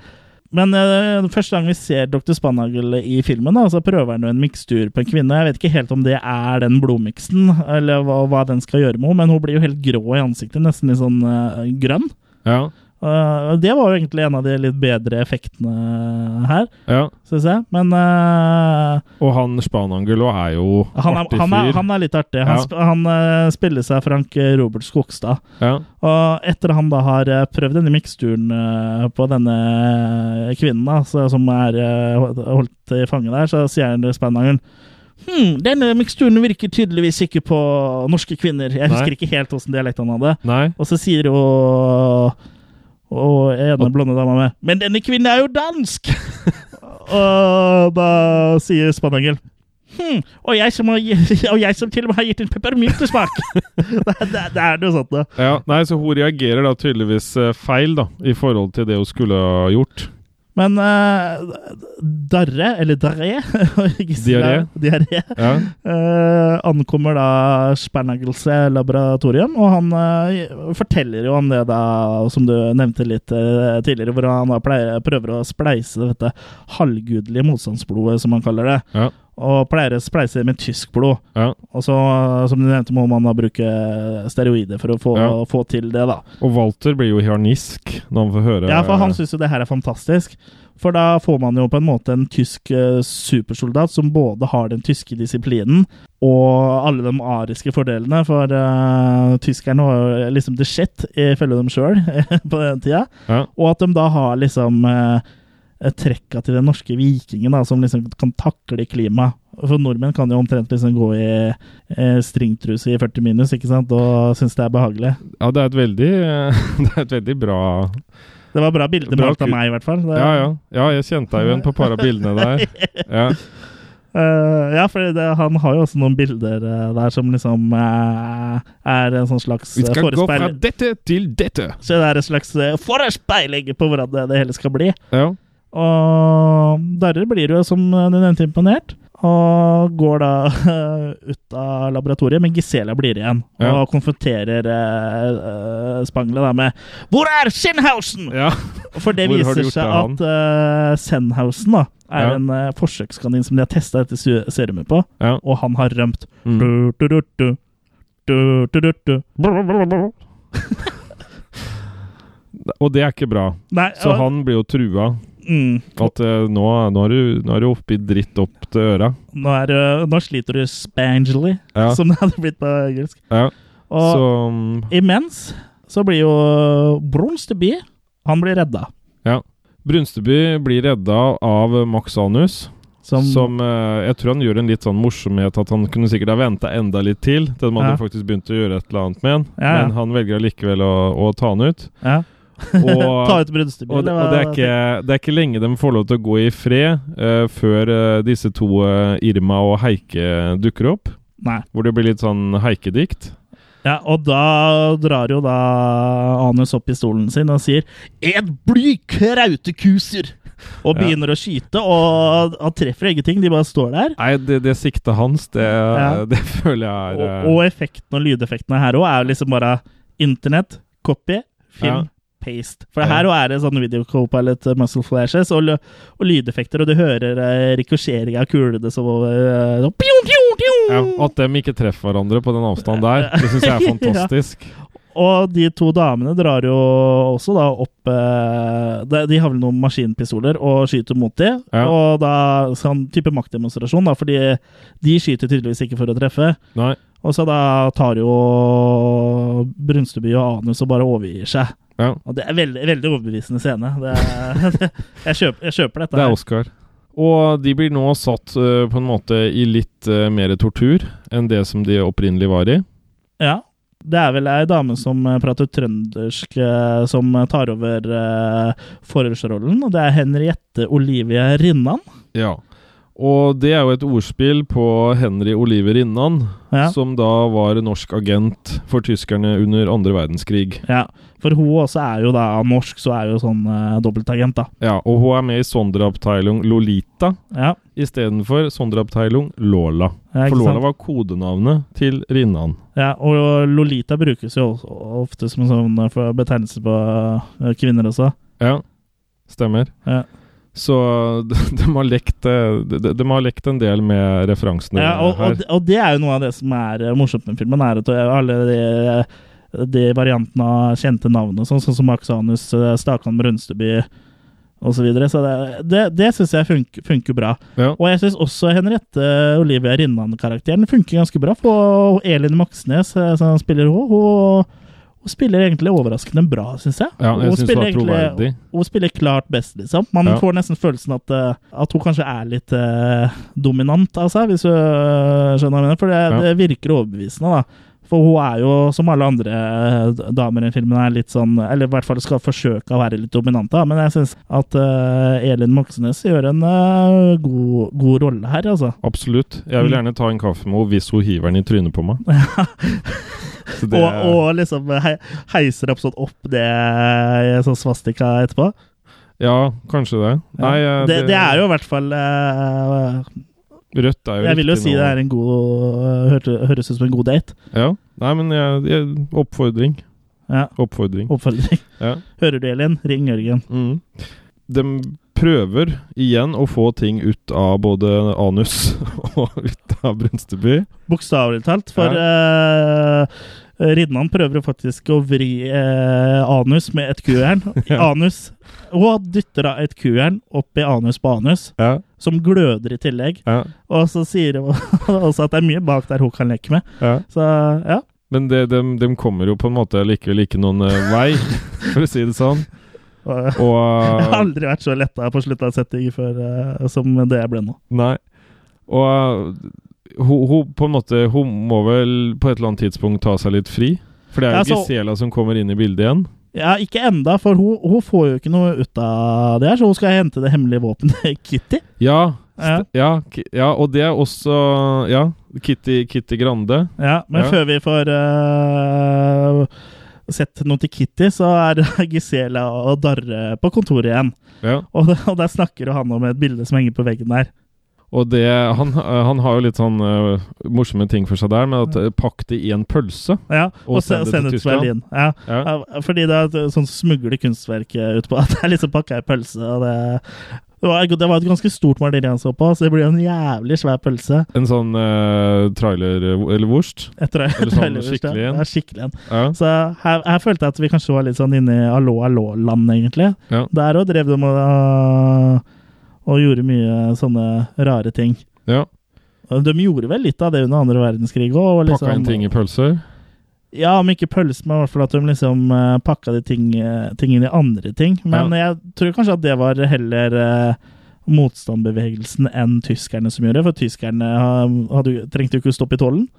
Speaker 2: men ø, første gang vi ser dr. Spannagel i filmen, da, så prøver han jo en mikstur på en kvinne. Jeg vet ikke helt om det er den blodmiksen, eller hva, hva den skal gjøre med henne, men hun blir jo helt grå i ansiktet, nesten litt sånn ø, grønn.
Speaker 3: Ja.
Speaker 2: Eh, det var jo egentlig en av de litt bedre effektene her,
Speaker 3: ja.
Speaker 2: synes jeg. Men eh,
Speaker 3: Og han Spanangel også er jo
Speaker 2: han, er,
Speaker 3: artig fyr.
Speaker 2: han, er, han er litt artig. Han,
Speaker 3: Ja.
Speaker 2: sp han eh, spiller seg Frank Robert Skogstad.
Speaker 3: ja.
Speaker 2: Og etter han da har eh, prøvd denne miksturen eh, på denne eh, kvinnen da, så, som er eh, hol- holdt i fanget der, så sier han til Spennangelen Hm, denne miksturen virker tydeligvis ikke på norske kvinner. Jeg husker
Speaker 3: Nei.
Speaker 2: ikke helt åssen dialekt han hadde.
Speaker 3: Nei.
Speaker 2: Og så sier jo Og ene blonde dama med 'Men denne kvinnen er jo dansk!' og da sier Spannangel «Hm, og, jeg som har, gi- og jeg som til og med har gitt en peppermyntesmak! det, det, det er noe sånt, da.
Speaker 3: Ja, nei, så hun reagerer da tydeligvis eh, feil da, i forhold til det hun skulle ha gjort.
Speaker 2: Men eh, Darre, eller Darre
Speaker 3: Diaré.
Speaker 2: Gisle- Diaré
Speaker 3: Ja.
Speaker 2: eh, ankommer da Spernagelse laboratorium, og han eh, forteller jo om det da, som du nevnte litt eh, tidligere, hvor han da pleier, prøver å spleise dette halvgudelige motstandsblodet, som han kaller det,
Speaker 3: Ja.
Speaker 2: og pleier å spleise med tysk blod.
Speaker 3: Ja.
Speaker 2: Og så, eh, som du nevnte, må man da bruke steroider for å få,
Speaker 3: Ja.
Speaker 2: få til det, da.
Speaker 3: Og Walter blir jo harnisk når han får høre
Speaker 2: Ja, for han syns jo det her er fantastisk. For da får man jo på en måte en tysk eh, supersoldat som både har den tyske disiplinen og alle de ariske fordelene, for eh, tyskerne var jo liksom the shit, ifølge dem sjøl, på den tida.
Speaker 3: Ja.
Speaker 2: Og at de da har liksom eh, trekka til den norske vikingen, da, som liksom kan takle klimaet. For nordmenn kan jo omtrent liksom gå i eh, stringtruse i 40 minus, ikke sant, og synes det er behagelig.
Speaker 3: Ja, det er et veldig, eh, det er et veldig bra
Speaker 2: Det var bra bilde
Speaker 3: Bra
Speaker 2: malt av
Speaker 3: ku-
Speaker 2: meg, i hvert fall. Det-
Speaker 3: Ja, ja. Ja, jeg kjente deg jo igjen på et par av bildene der. Ja.
Speaker 2: Eh, ja, for det, han har jo også noen bilder eh, der som liksom eh, er en sånn slags eh, forespeiling.
Speaker 3: dette til dette.
Speaker 2: Så det er en slags eh, forespeiling på hvordan det, det hele skal bli.
Speaker 3: Ja.
Speaker 2: Og Darre blir jo, som eh, du nevnte, imponert. Og går da eh, ut av laboratoriet, men Gisela blir igjen.
Speaker 3: Ja.
Speaker 2: Og konfronterer eh, eh, Spangler da med 'Hvor er Sinnhausen?'
Speaker 3: ja.
Speaker 2: For det
Speaker 3: Hvor har du
Speaker 2: viser
Speaker 3: gjort
Speaker 2: seg
Speaker 3: av han?
Speaker 2: at eh, Sennhausen da er
Speaker 3: Ja.
Speaker 2: en eh, forsøkskanin som de har testa dette su- serumet på,
Speaker 3: Ja.
Speaker 2: og han har rømt.
Speaker 3: Mm.
Speaker 2: Du, du, du, du. Du, du, du, du.
Speaker 3: Og det er ikke bra.
Speaker 2: Nei,
Speaker 3: Så
Speaker 2: og-
Speaker 3: han blir jo trua.
Speaker 2: mm,
Speaker 3: At eh, nå, nå er du, nå er du oppi dritt opp til øra.
Speaker 2: nå, er, det- nå sliter du spangely,
Speaker 3: Ja.
Speaker 2: som det hadde blitt på engelsk.
Speaker 3: Ja.
Speaker 2: Og
Speaker 3: Så mm,
Speaker 2: imens så blir jo Brunsteby Han blir redda.
Speaker 3: Brunsteby blir redda av Max Anus,
Speaker 2: Som,
Speaker 3: som, eh, Jeg tror han gjør en litt sånn morsomhet at han kunne sikkert ha venta enda litt til til man
Speaker 2: Ja.
Speaker 3: hadde faktisk begynt å gjøre et eller annet med han,
Speaker 2: Ja, ja.
Speaker 3: men han velger allikevel å, å ta han ut.
Speaker 2: ja.
Speaker 3: Og,
Speaker 2: Ta ut Brunsteby.
Speaker 3: og, det, og det, er ikke, det er ikke lenge de får lov til å gå i fred eh, før eh, disse to, eh, Irma og Heike, dukker opp.
Speaker 2: Nei.
Speaker 3: Hvor det blir litt sånn haikedikt.
Speaker 2: Ja, og da drar jo da Anus opp pistolen sin og sier Et bly krautekuser! Og
Speaker 3: Ja.
Speaker 2: begynner å skyte, og han treffer ingenting. De bare står der.
Speaker 3: Nei, det, det siktet hans, det, det føler jeg er
Speaker 2: Og,
Speaker 3: eh,
Speaker 2: og effekten og lydeffektene her òg er jo liksom bare internett, copy, film, paste. For
Speaker 3: Ja.
Speaker 2: her òg er det sånn video copilot eh, muscle flashes og, lø- og lydeffekter, og du hører eh, rikosjering av kulene som eh, så, pju, pju, pju.
Speaker 3: Ja, at de ikke treffer hverandre på den avstanden der, det syns jeg er fantastisk.
Speaker 2: Og de to damene drar jo også da opp eh, de- De har vel noen maskinpistoler og skyter mot de.
Speaker 3: Ja.
Speaker 2: Og da sånn type maktdemonstrasjon, da, fordi de skyter tydeligvis ikke for å treffe.
Speaker 3: Nei.
Speaker 2: Og så da tar jo Brunsteby og Anus og bare overgir seg.
Speaker 3: Ja.
Speaker 2: Og det er veldig, veldig overbevisende scene. Det er, jeg, kjøper, jeg kjøper dette.
Speaker 3: Det er
Speaker 2: her.
Speaker 3: Oscar. Og de blir nå satt eh, på en måte i litt eh, mer tortur enn det som de opprinnelig var i.
Speaker 2: Ja. Det er vel ei dame som eh, prater trøndersk, eh, som tar over eh, forhørsrollen. Og det er Henriette Olivia Rinnan.
Speaker 3: Ja. Og det er jo et ordspill på Henry Oliver Rinnan,
Speaker 2: Ja.
Speaker 3: som da var norsk agent for tyskerne under andre verdenskrig.
Speaker 2: ja. For hun også er jo da av norsk, så er jo sånn eh, dobbeltagent, da.
Speaker 3: Ja, Og hun er med i Sonderabteilung Lolita
Speaker 2: Ja.
Speaker 3: istedenfor Sonderabteilung Lola.
Speaker 2: Ja, ikke
Speaker 3: For Lola
Speaker 2: sant?
Speaker 3: var kodenavnet til Rinnan.
Speaker 2: ja, og Lolita brukes jo også ofte som en sånn eh, for- betegnelse på eh, kvinner også.
Speaker 3: Ja, stemmer.
Speaker 2: Ja.
Speaker 3: Så de, de, har lekt, eh, de, de har lekt en del med referansene
Speaker 2: Ja, og, og,
Speaker 3: her.
Speaker 2: det- og det er jo noe av det som er eh, morsomt med filmen, er at eh, alle de, eh, de variantene av kjente navn og sånn, sånn som Max Anus, eh, Stakan Brunsteby og så videre. Så det, det, det syns jeg funker, funker bra.
Speaker 3: Ja.
Speaker 2: Og jeg syns også Henriette Olivia Rinnan-karakteren funker ganske bra. For Elin Moxnes, eh, som spiller henne, hun, hun spiller egentlig overraskende bra, syns jeg.
Speaker 3: Ja, jeg
Speaker 2: Hun
Speaker 3: synes
Speaker 2: spiller
Speaker 3: hun er
Speaker 2: egentlig-
Speaker 3: troverdig.
Speaker 2: Hun spiller klart best, liksom. Man
Speaker 3: Ja.
Speaker 2: får nesten følelsen at, eh, at hun kanskje er litt eh, dominant av seg, hvis du eh, skjønner hva jeg mener. For det,
Speaker 3: Ja.
Speaker 2: det virker overbevisende, da. For hun er jo, som alle andre eh, damer i filmen, er litt sånn Eller i hvert fall skal forsøke å være litt dominant, da. Men jeg syns at eh, Elin Moxnes gjør en eh, god, god rolle her, altså.
Speaker 3: Absolutt. Jeg vil gjerne ta en kaffe med henne hvis hun hiver den i trynet på meg. Så det-
Speaker 2: Og, og liksom hei, heiser opp sånn opp det eh, sånn svastika etterpå.
Speaker 3: Ja, kanskje det. Nei, eh,
Speaker 2: det, det er jo i hvert fall eh,
Speaker 3: Rødt er jo
Speaker 2: Jeg vil jo
Speaker 3: riktig
Speaker 2: si
Speaker 3: nå.
Speaker 2: det er en god eh, hørte- Høres ut som en god date.
Speaker 3: Ja. Nei, men jeg, jeg, oppfordring.
Speaker 2: Ja.
Speaker 3: Oppfordring.
Speaker 2: Oppfølging.
Speaker 3: Ja.
Speaker 2: Hører du, Elin? Ring Jørgen.
Speaker 3: Mm. De prøver igjen å få ting ut av både anus og ut av Brunsteby.
Speaker 2: Bokstavelig talt, for eh, Ridnan prøver jo faktisk å vri eh, anus med et kujern.
Speaker 3: Ja.
Speaker 2: Anus. Hun dytter da et kujern opp i anus på anus,
Speaker 3: Ja,
Speaker 2: som gløder i tillegg.
Speaker 3: ja,
Speaker 2: Og så sier hun også at det er mye bak der hun kan leke med.
Speaker 3: ja.
Speaker 2: Så ja.
Speaker 3: Men det, de, de kommer jo på en måte likevel ikke noen eh, vei, for å si det sånn.
Speaker 2: Og, jeg har
Speaker 3: Og
Speaker 2: aldri vært så letta på slutten av en setting før eh, som det jeg ble nå.
Speaker 3: Nei. Og eh, hun, hun på en måte Hun må vel på et eller annet tidspunkt ta seg litt fri? For det er jo
Speaker 2: Ja, så-
Speaker 3: Gisela som kommer inn i bildet igjen.
Speaker 2: Ja, ikke enda, for hun, hun får jo ikke noe ut av det her, så hun skal hente det hemmelige våpenet Kitty.
Speaker 3: Ja,
Speaker 2: Ja,
Speaker 3: Ja, ki- ja, og det er også Ja, Kitty, Kitty Grande.
Speaker 2: ja Men
Speaker 3: Ja.
Speaker 2: før vi får øh, sett noe til Kitty, så er Gisela og Darre på kontoret igjen.
Speaker 3: Ja.
Speaker 2: Og, og der snakker jo han om et bilde som henger på veggen der.
Speaker 3: Og det, han, han har jo litt sånn eh, morsomme ting for seg der, med at eh, pakk det i en pølse.
Speaker 2: Ja, og,
Speaker 3: Og
Speaker 2: se-
Speaker 3: send det til
Speaker 2: send det til
Speaker 3: Tyskland.
Speaker 2: Berlin. Ja.
Speaker 3: Ja.
Speaker 2: Ja, fordi det er et sånn smugle kunstverk utpå. At det er liksom pakka i pølse, og det det var, det var et ganske stort maleri han så på, så det blir jo en jævlig svær pølse.
Speaker 3: En sånn eh, trailer eller wurst.
Speaker 2: Etter,
Speaker 3: Eller sånn skikkelig en.
Speaker 2: Ja, skikkelig en.
Speaker 3: Ja.
Speaker 2: Så her, her følte jeg at vi kanskje var litt sånn inne i allo allo land egentlig.
Speaker 3: Ja.
Speaker 2: Der òg drev de og, og gjorde mye sånne rare ting.
Speaker 3: ja.
Speaker 2: De gjorde vel litt av det under andre verdenskrig òg.
Speaker 3: Pakka inn ting i pølser.
Speaker 2: Ja, om ikke pølse, men i hvert fall at de liksom eh, pakka de ting, eh, ting inn i andre ting. Men jeg tror kanskje at det var heller eh, motstandsbevegelsen enn tyskerne som gjorde, for tyskerne eh, hadde, trengte jo ikke å stoppe i tollen.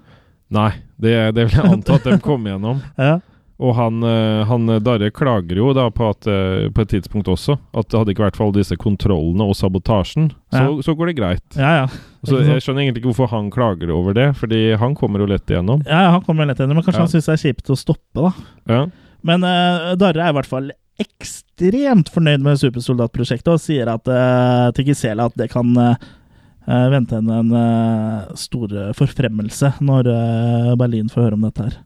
Speaker 3: Nei, det, det vil jeg anta at de kom gjennom.
Speaker 2: Ja.
Speaker 3: Og han, eh, han eh, Darre klager jo da på at eh, på et tidspunkt også at det hadde ikke vært for alle disse kontrollene og sabotasjen, så,
Speaker 2: Ja.
Speaker 3: så går det greit.
Speaker 2: ja, ja.
Speaker 3: Så
Speaker 2: Ikke sant?
Speaker 3: jeg skjønner egentlig ikke hvorfor han klager over det, fordi han kommer jo lett igjennom.
Speaker 2: Ja, ja, han kommer lett etter, men kanskje
Speaker 3: Ja.
Speaker 2: han syns det er kjipt å stoppe, da.
Speaker 3: Ja.
Speaker 2: Men eh, Darre er i hvert fall ekstremt fornøyd med supersoldatprosjektet og sier at, eh, til Gisela at det kan eh, eh, vente henne en eh, stor eh, forfremmelse når eh, Berlin får høre om dette her.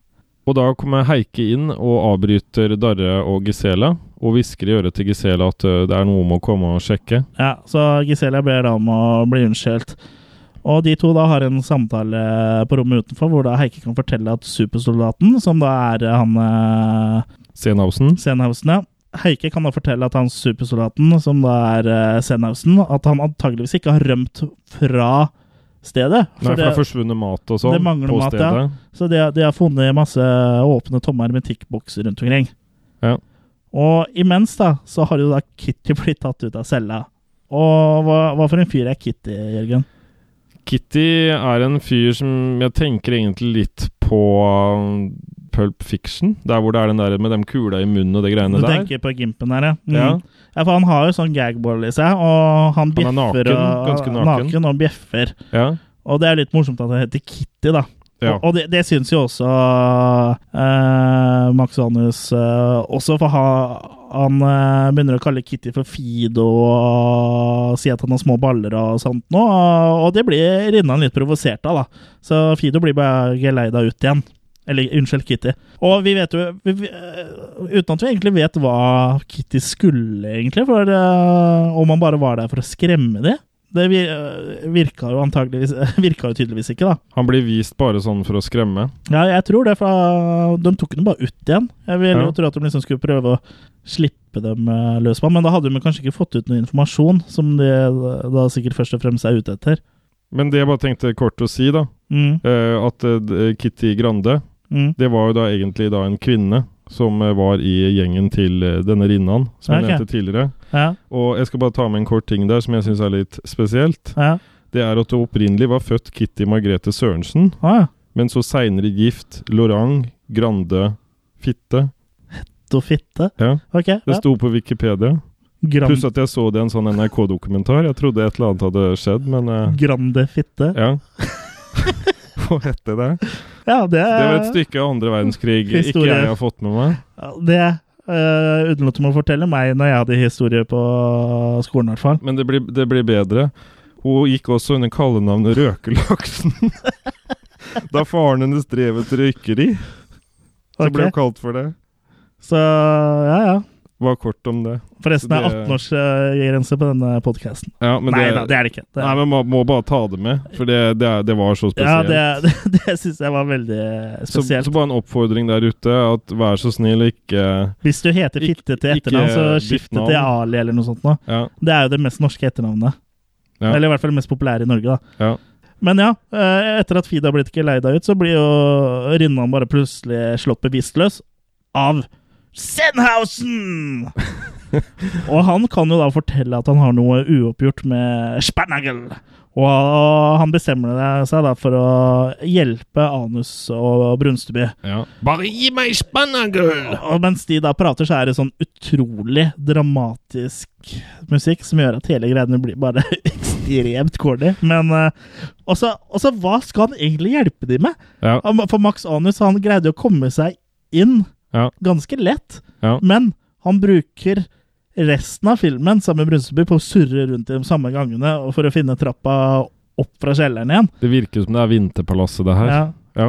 Speaker 3: Og da kommer Heike inn og avbryter Darre og Gisela, og hvisker i øret til Gisela at ø, det er noe om å komme og sjekke.
Speaker 2: Ja, Så Gisela ber da om å bli unnskyldt. Og de to da har en samtale eh, på rommet utenfor, hvor da Heike kan fortelle at supersoldaten, som da er eh, han eh,
Speaker 3: Senhausen.
Speaker 2: Senhausen, ja. Heike kan da fortelle at han supersoldaten, som da er eh, Senhausen, at han antageligvis ikke har rømt fra stedet.
Speaker 3: Nei, for det er
Speaker 2: det,
Speaker 3: forsvunnet mat og sånn
Speaker 2: det mangler
Speaker 3: på
Speaker 2: mat,
Speaker 3: stedet.
Speaker 2: ja. så de, har- de har funnet masse åpne tomme hermetikkbokser rundt omkring.
Speaker 3: Ja.
Speaker 2: Og imens da, så har jo da Kitty blitt tatt ut av cella. Og hva, hva for en fyr er Kitty, Jørgen?
Speaker 3: Kitty er en fyr som jeg tenker egentlig litt på ø, Pulp Fiction. Der hvor det er den der med dem kula i munnen og det
Speaker 2: Du
Speaker 3: greiene der.
Speaker 2: tenker på Gimpen her, ja. Mm.
Speaker 3: Ja.
Speaker 2: ja. For han har jo sånn gagball i seg, og han bjeffer
Speaker 3: Han er naken,
Speaker 2: og,
Speaker 3: ganske naken.
Speaker 2: naken og bjeffer.
Speaker 3: Ja.
Speaker 2: Og det er litt morsomt at det heter Kitty, da.
Speaker 3: ja.
Speaker 2: Og, og det, det syns jo også eh, Max Anus eh, også, for ha, han eh, begynner å kalle Kitty for Fido og si at han har små baller og sånt nå, og, og det blir Rinnan litt provosert av, da. Så Fido blir bare geleida ut igjen. Eller unnskyld, Kitty. Og vi vet jo vi, vi, eh, Uten at vi egentlig vet hva Kitty skulle, egentlig, for eh, om han bare var der for å skremme dem. Det vi- eh, virka jo antageligvis Virka jo tydeligvis ikke, da.
Speaker 3: Han blir vist bare sånn for å skremme.
Speaker 2: Ja, jeg tror det, for ah, de tok den bare ut igjen. Jeg ville jo
Speaker 3: Ja.
Speaker 2: tro at de liksom skulle prøve å slippe dem eh, løs på den, men da hadde de kanskje ikke fått ut noe informasjon, som de eh, da sikkert først og fremst er ute etter.
Speaker 3: Men det jeg bare tenkte kort å si, da,
Speaker 2: Mm,
Speaker 3: ø, at ø, d- eh, Kitty Grande
Speaker 2: mm.
Speaker 3: Det var jo da egentlig da en kvinne som eh, var i gjengen til eh, denne Rinnan, som jeg
Speaker 2: Ok.
Speaker 3: nevnte tidligere.
Speaker 2: Ja,
Speaker 3: Og jeg skal bare ta med en kort ting der som jeg syns er litt spesielt.
Speaker 2: ja.
Speaker 3: Det er at hun opprinnelig var født Kitty Margrethe Sørensen,
Speaker 2: Ah, ja.
Speaker 3: Men så seinere gift, Lorang, Grande, Fitte.
Speaker 2: Hett og fitte?
Speaker 3: Ja,
Speaker 2: Ok.
Speaker 3: det
Speaker 2: Ja.
Speaker 3: sto på Wikipedia.
Speaker 2: Gran,
Speaker 3: Pluss at jeg så det i en sånn NRK-dokumentar. Jeg trodde et eller annet hadde skjedd, men eh,
Speaker 2: grande fitte?
Speaker 3: ja. Hva heter det?
Speaker 2: Ja, det
Speaker 3: Det var et stykke av andre verdenskrig ikke
Speaker 2: Eh, Historie.
Speaker 3: jeg har fått med meg.
Speaker 2: Ja, Det øh, unnlot de å fortelle meg når jeg hadde historie på skolen, i hvert fall.
Speaker 3: Men det blir, det blir bedre. Hun gikk også under kallenavnet Røkelaksen. da faren hennes drev et røykeri, så ble
Speaker 2: Ok.
Speaker 3: hun kalt for det.
Speaker 2: Så ja, ja.
Speaker 3: Var kort om det.
Speaker 2: Forresten det er
Speaker 3: Det-
Speaker 2: 18-årsgrense på denne podkasten.
Speaker 3: Ja, men
Speaker 2: Nei
Speaker 3: det,
Speaker 2: da, det er det ikke. Det,
Speaker 3: Nei, men man må bare ta det med, for det, det, er- det var så
Speaker 2: ja,
Speaker 3: spesielt.
Speaker 2: det, det, det syns jeg var veldig eh,
Speaker 3: så,
Speaker 2: spesielt.
Speaker 3: så bare en oppfordring der ute, at vær så snill, ikke
Speaker 2: Hvis du heter
Speaker 3: Ikke-
Speaker 2: Fitte til
Speaker 3: ikke
Speaker 2: etternavn, så
Speaker 3: ditt
Speaker 2: skift det
Speaker 3: navn.
Speaker 2: til Ali eller noe sånt. Nå.
Speaker 3: Ja.
Speaker 2: Det er jo det mest norske etternavnet.
Speaker 3: Ja.
Speaker 2: Eller i hvert fall det mest populære i Norge, da.
Speaker 3: Ja.
Speaker 2: Men ja, eh, etter at Fida blitt geleida ut, så blir jo Rinnan bare plutselig slått bevisstløs av Sennhausen! og han kan jo da fortelle at han har noe uoppgjort med Spernagel. Og han bestemmer seg da for å hjelpe Anus og Brunsteby.
Speaker 3: ja.
Speaker 1: Bare gi meg spannagøl!
Speaker 2: Og mens de da prater, så er det sånn utrolig dramatisk musikk som gjør at hele greiene blir bare ekstremt corny. Men eh, også, også, hva skal han egentlig hjelpe de med?
Speaker 3: Ja.
Speaker 2: Han- For Max Anus han greide jo å komme seg inn
Speaker 3: Ja.
Speaker 2: ganske lett,
Speaker 3: Ja.
Speaker 2: men han bruker resten av filmen sammen med Brunseby på å surre rundt i de samme gangene og for å finne trappa opp fra kjelleren igjen.
Speaker 3: Det virker som det er Vinterpalasset, det her.
Speaker 2: Ja.
Speaker 3: Ja.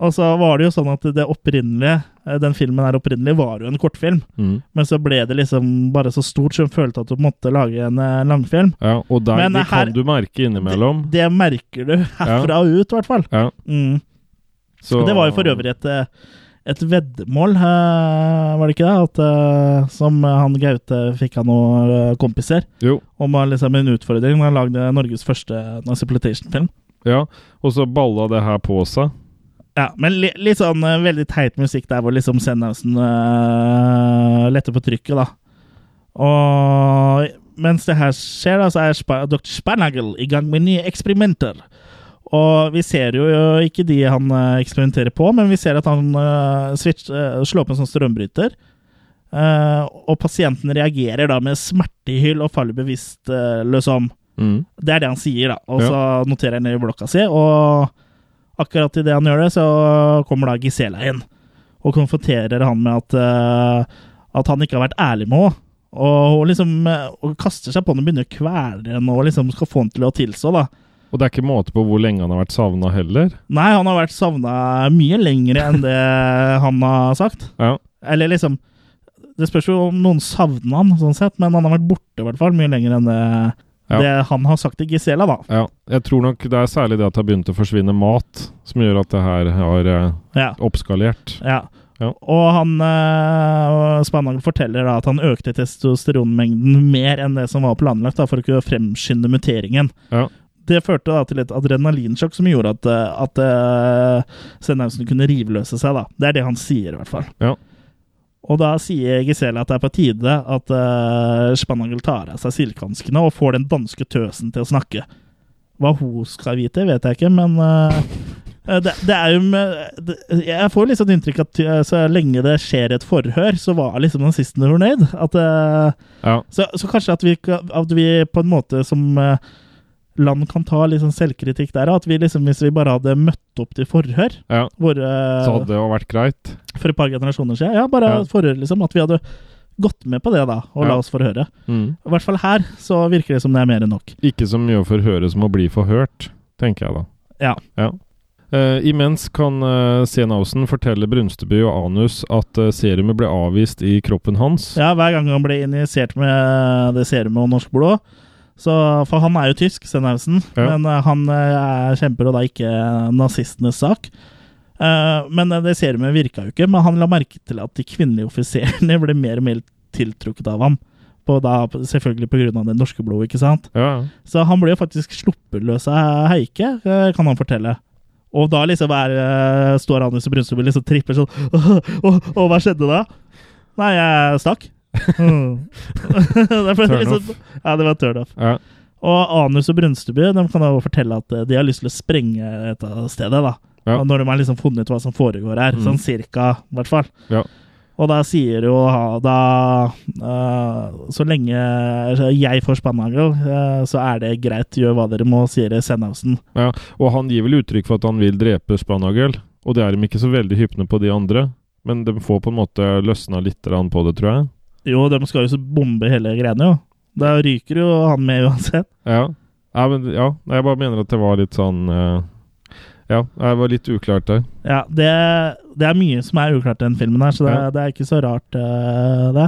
Speaker 2: Og så var det jo sånn at det opprinnelige, eh, den filmen her opprinnelig var jo en kortfilm.
Speaker 3: Mm.
Speaker 2: Men så ble det liksom bare så stort som følte at du måtte lage en eh, langfilm.
Speaker 3: ja. Og der,
Speaker 2: Men eh,
Speaker 3: det
Speaker 2: her-
Speaker 3: kan du merke innimellom.
Speaker 2: Det merker du herfra og ut, i hvert fall.
Speaker 3: Ja.
Speaker 2: Mm.
Speaker 3: Så,
Speaker 2: Det var jo for øvrig et, eh, et veddemål, eh, var det ikke det? At, eh, som han Gaute fikk av noen eh, kompiser.
Speaker 3: Jo.
Speaker 2: Om å liksom en utfordring. Han lagde Norges første Naziplitation-film.
Speaker 3: Ja. Og så balla det her på seg.
Speaker 2: Ja, men li, litt sånn eh, veldig teit musikk der hvor liksom Sennhausen eh, letter på trykket, da. Og mens det her skjer, da, så er Spa dr. Spanagel i gang med nye eksperimenter. Og vi ser jo ikke de han eh, eksperimenterer på, men vi ser at han eh, switch, eh, slår på en sånn strømbryter. Eh, og pasienten reagerer da med smertehyll og faller bevisstløs om.
Speaker 3: Mm.
Speaker 2: Det er det han sier, da. Og
Speaker 3: Ja.
Speaker 2: så noterer jeg ned i blokka si, og akkurat idet han gjør det, så kommer da Gisela inn. Og konfronterer han med at, eh, at han ikke har vært ærlig med henne. Og hun liksom eh, og kaster seg på henne og begynner å kvele henne og liksom skal få henne til å tilstå. da.
Speaker 3: Og det er ikke måte på hvor lenge han har vært savna heller.
Speaker 2: Nei, han har vært savna mye lenger enn det han har sagt.
Speaker 3: Ja.
Speaker 2: Eller liksom Det spørs jo om noen savner han, sånn sett, men han har vært borte i hvert fall mye lenger enn det,
Speaker 3: Ja.
Speaker 2: det han har sagt til Gisela, da.
Speaker 3: ja. Jeg tror nok det er særlig det at det har begynt å forsvinne mat, som gjør at det her har eh,
Speaker 2: Ja.
Speaker 3: oppskalert.
Speaker 2: Ja.
Speaker 3: Ja.
Speaker 2: Og han eh, Spanhagel forteller da at han økte testosteronmengden mer enn det som var planlagt da, for å kunne fremskynde muteringen.
Speaker 3: Ja.
Speaker 2: Det førte da til et adrenalinsjokk som gjorde at, eh, at eh, Sennhausen kunne rivløse seg. da. Det er det han sier, i hvert fall.
Speaker 3: Ja.
Speaker 2: Og da sier Gisela at det er på tide at uh, Spanhagel tar av seg silkehanskene og får den danske tøsen til å snakke. Hva hun skal vite, vet jeg ikke, men eh, Eh, Det, det er jo med, det, Jeg får litt sånn inntrykk at eh, så lenge det skjer et forhør, så var liksom nazisten fornøyd. At, eh,
Speaker 3: Ja.
Speaker 2: så, så kanskje at vi, ka- at vi på en måte som eh, land kan ta litt sånn selvkritikk der. At vi liksom, hvis vi bare hadde møtt opp til forhør
Speaker 3: Ja.
Speaker 2: våre,
Speaker 3: Så hadde det jo vært greit.
Speaker 2: for et par generasjoner siden, ja, bare
Speaker 3: Ja.
Speaker 2: forhør liksom, at vi hadde gått med på det da, og
Speaker 3: Ja.
Speaker 2: la oss forhøre.
Speaker 3: Mm.
Speaker 2: I hvert fall her så virker det som det er mer enn nok.
Speaker 3: Ikke så mye å forhøre som å bli forhørt, tenker jeg da.
Speaker 2: Ja.
Speaker 3: Eh, imens kan uh, Senhausen fortelle Brunsteby og Anus at eh, serumet ble avvist i kroppen hans.
Speaker 2: Ja, hver gang han ble injisert med det serumet og norsk blod. Så, for han er jo tysk, Stenhausen,
Speaker 3: Ja.
Speaker 2: men eh, han eh, er- kjemper jo da ikke nazistenes sak. Eh, men eh, det serumet virka jo ikke, men han la merke til at de kvinnelige offiserene ble mer og mer tiltrukket av ham. På da, selvfølgelig pga. det norske blodet, ikke sant?
Speaker 3: Ja, ja.
Speaker 2: Så han ble jo faktisk sluppet løs av Heike, eh, kan han fortelle. Og da liksom er, eh, står Anders og Brunstø og liksom tripper sånn «Åh, åh, åh, hva skjedde da? Nei, jeg stakk. Mm. det, ble
Speaker 3: Turn
Speaker 2: liksom, ja, det var turn off.
Speaker 3: Ja.
Speaker 2: Og Anus og Brunsteby de kan jo fortelle at eh, de har lyst til å sprenge dette stedet. da
Speaker 3: Ja. Mm.
Speaker 2: Og når de har liksom funnet ut hva som foregår her, sånn cirka, i hvert fall.
Speaker 3: Ja.
Speaker 2: Og da sier jo ha- da eh, Så lenge altså, jeg får Spannhagel, eh, så er det greit, gjør hva dere må, sier Sennhausen.
Speaker 3: Ja, og han gir vel uttrykk for at han vil drepe Spanhagel, og det er de ikke så veldig hypne på de andre, men de får på en måte løsna litt grann på det, tror jeg.
Speaker 2: Jo, de skal jo så bombe hele greiene, jo. Da ryker jo han med uansett.
Speaker 3: Ja. Nei, men, ja. Nei, Jeg bare mener at det var litt sånn eh, Ja, jeg var litt uklart der.
Speaker 2: Ja, det, det er mye som er uklart i den filmen her, så det,
Speaker 3: Ja.
Speaker 2: det er ikke så rart, eh, det.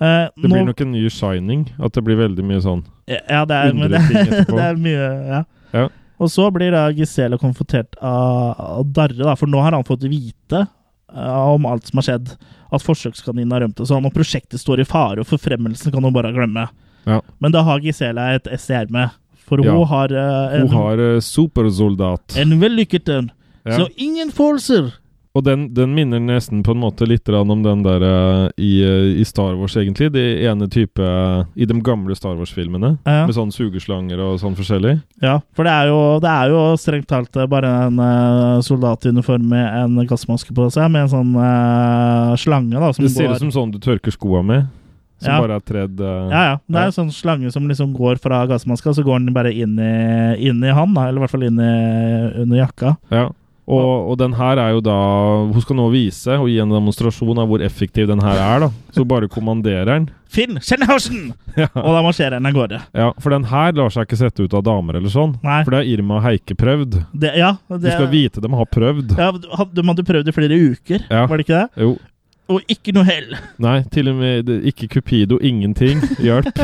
Speaker 2: Eh,
Speaker 3: Det blir
Speaker 2: nå-
Speaker 3: nok en ny shining, at det blir veldig mye sånn
Speaker 2: Ja, det er, men det,
Speaker 3: Undre ting etterpå.
Speaker 2: det er mye ja.
Speaker 3: Ja.
Speaker 2: Og så blir da Gisele konfrontert av, av Darre, da, for nå har han fått vite eh, om alt som har skjedd. At forsøkskaninen har rømt, og sånn, og prosjektet står i fare, og forfremmelsen kan hun bare glemme.
Speaker 3: Ja.
Speaker 2: Men da har Gisele et ess i ermet, for
Speaker 3: Ja.
Speaker 2: hun har eh,
Speaker 3: Hun
Speaker 2: en,
Speaker 3: har eh, supersoldat.
Speaker 2: en vellykket en.
Speaker 3: Ja.
Speaker 2: Så ingen følelser!
Speaker 3: Og den, den minner nesten på en måte litt grann om den der eh, i, eh, i Star Wars, egentlig. De ene type eh, I de gamle Star Wars-filmene.
Speaker 2: Ja.
Speaker 3: Med sånn sugeslanger og sånn forskjellig.
Speaker 2: Ja, for det er jo, det er jo strengt talt eh, bare en eh, soldat i uniform med en gassmaske på seg, med en sånn eh, slange da, som
Speaker 3: Det ser
Speaker 2: går
Speaker 3: ut som sånn du tørker skoa med. Som
Speaker 2: Ja.
Speaker 3: bare er tredd eh,
Speaker 2: Ja, ja. Det er en sånn slange som liksom går fra gassmaska, så går den bare inn i, inn i han, da, eller i hvert fall inn i, under jakka.
Speaker 3: Ja. Og, og den her er jo da Hun skal nå vise og gi en demonstrasjon av hvor effektiv den her er. da Så bare kommanderer den.
Speaker 2: Finn Schenhausen! Og da marsjerer den av gårde.
Speaker 3: Ja, For den her lar seg ikke sette ut av damer eller sånn.
Speaker 2: Nei.
Speaker 3: For det har Irma og Heike prøvd.
Speaker 2: Det, ja, det,
Speaker 3: Du skal vite de har prøvd.
Speaker 2: Ja, du hadde- de hadde prøvd i flere uker,
Speaker 3: Ja.
Speaker 2: var det ikke det?
Speaker 3: Jo.
Speaker 2: Og ikke noe hell!
Speaker 3: Nei, til og med det- ikke Cupido, ingenting. Hjelp.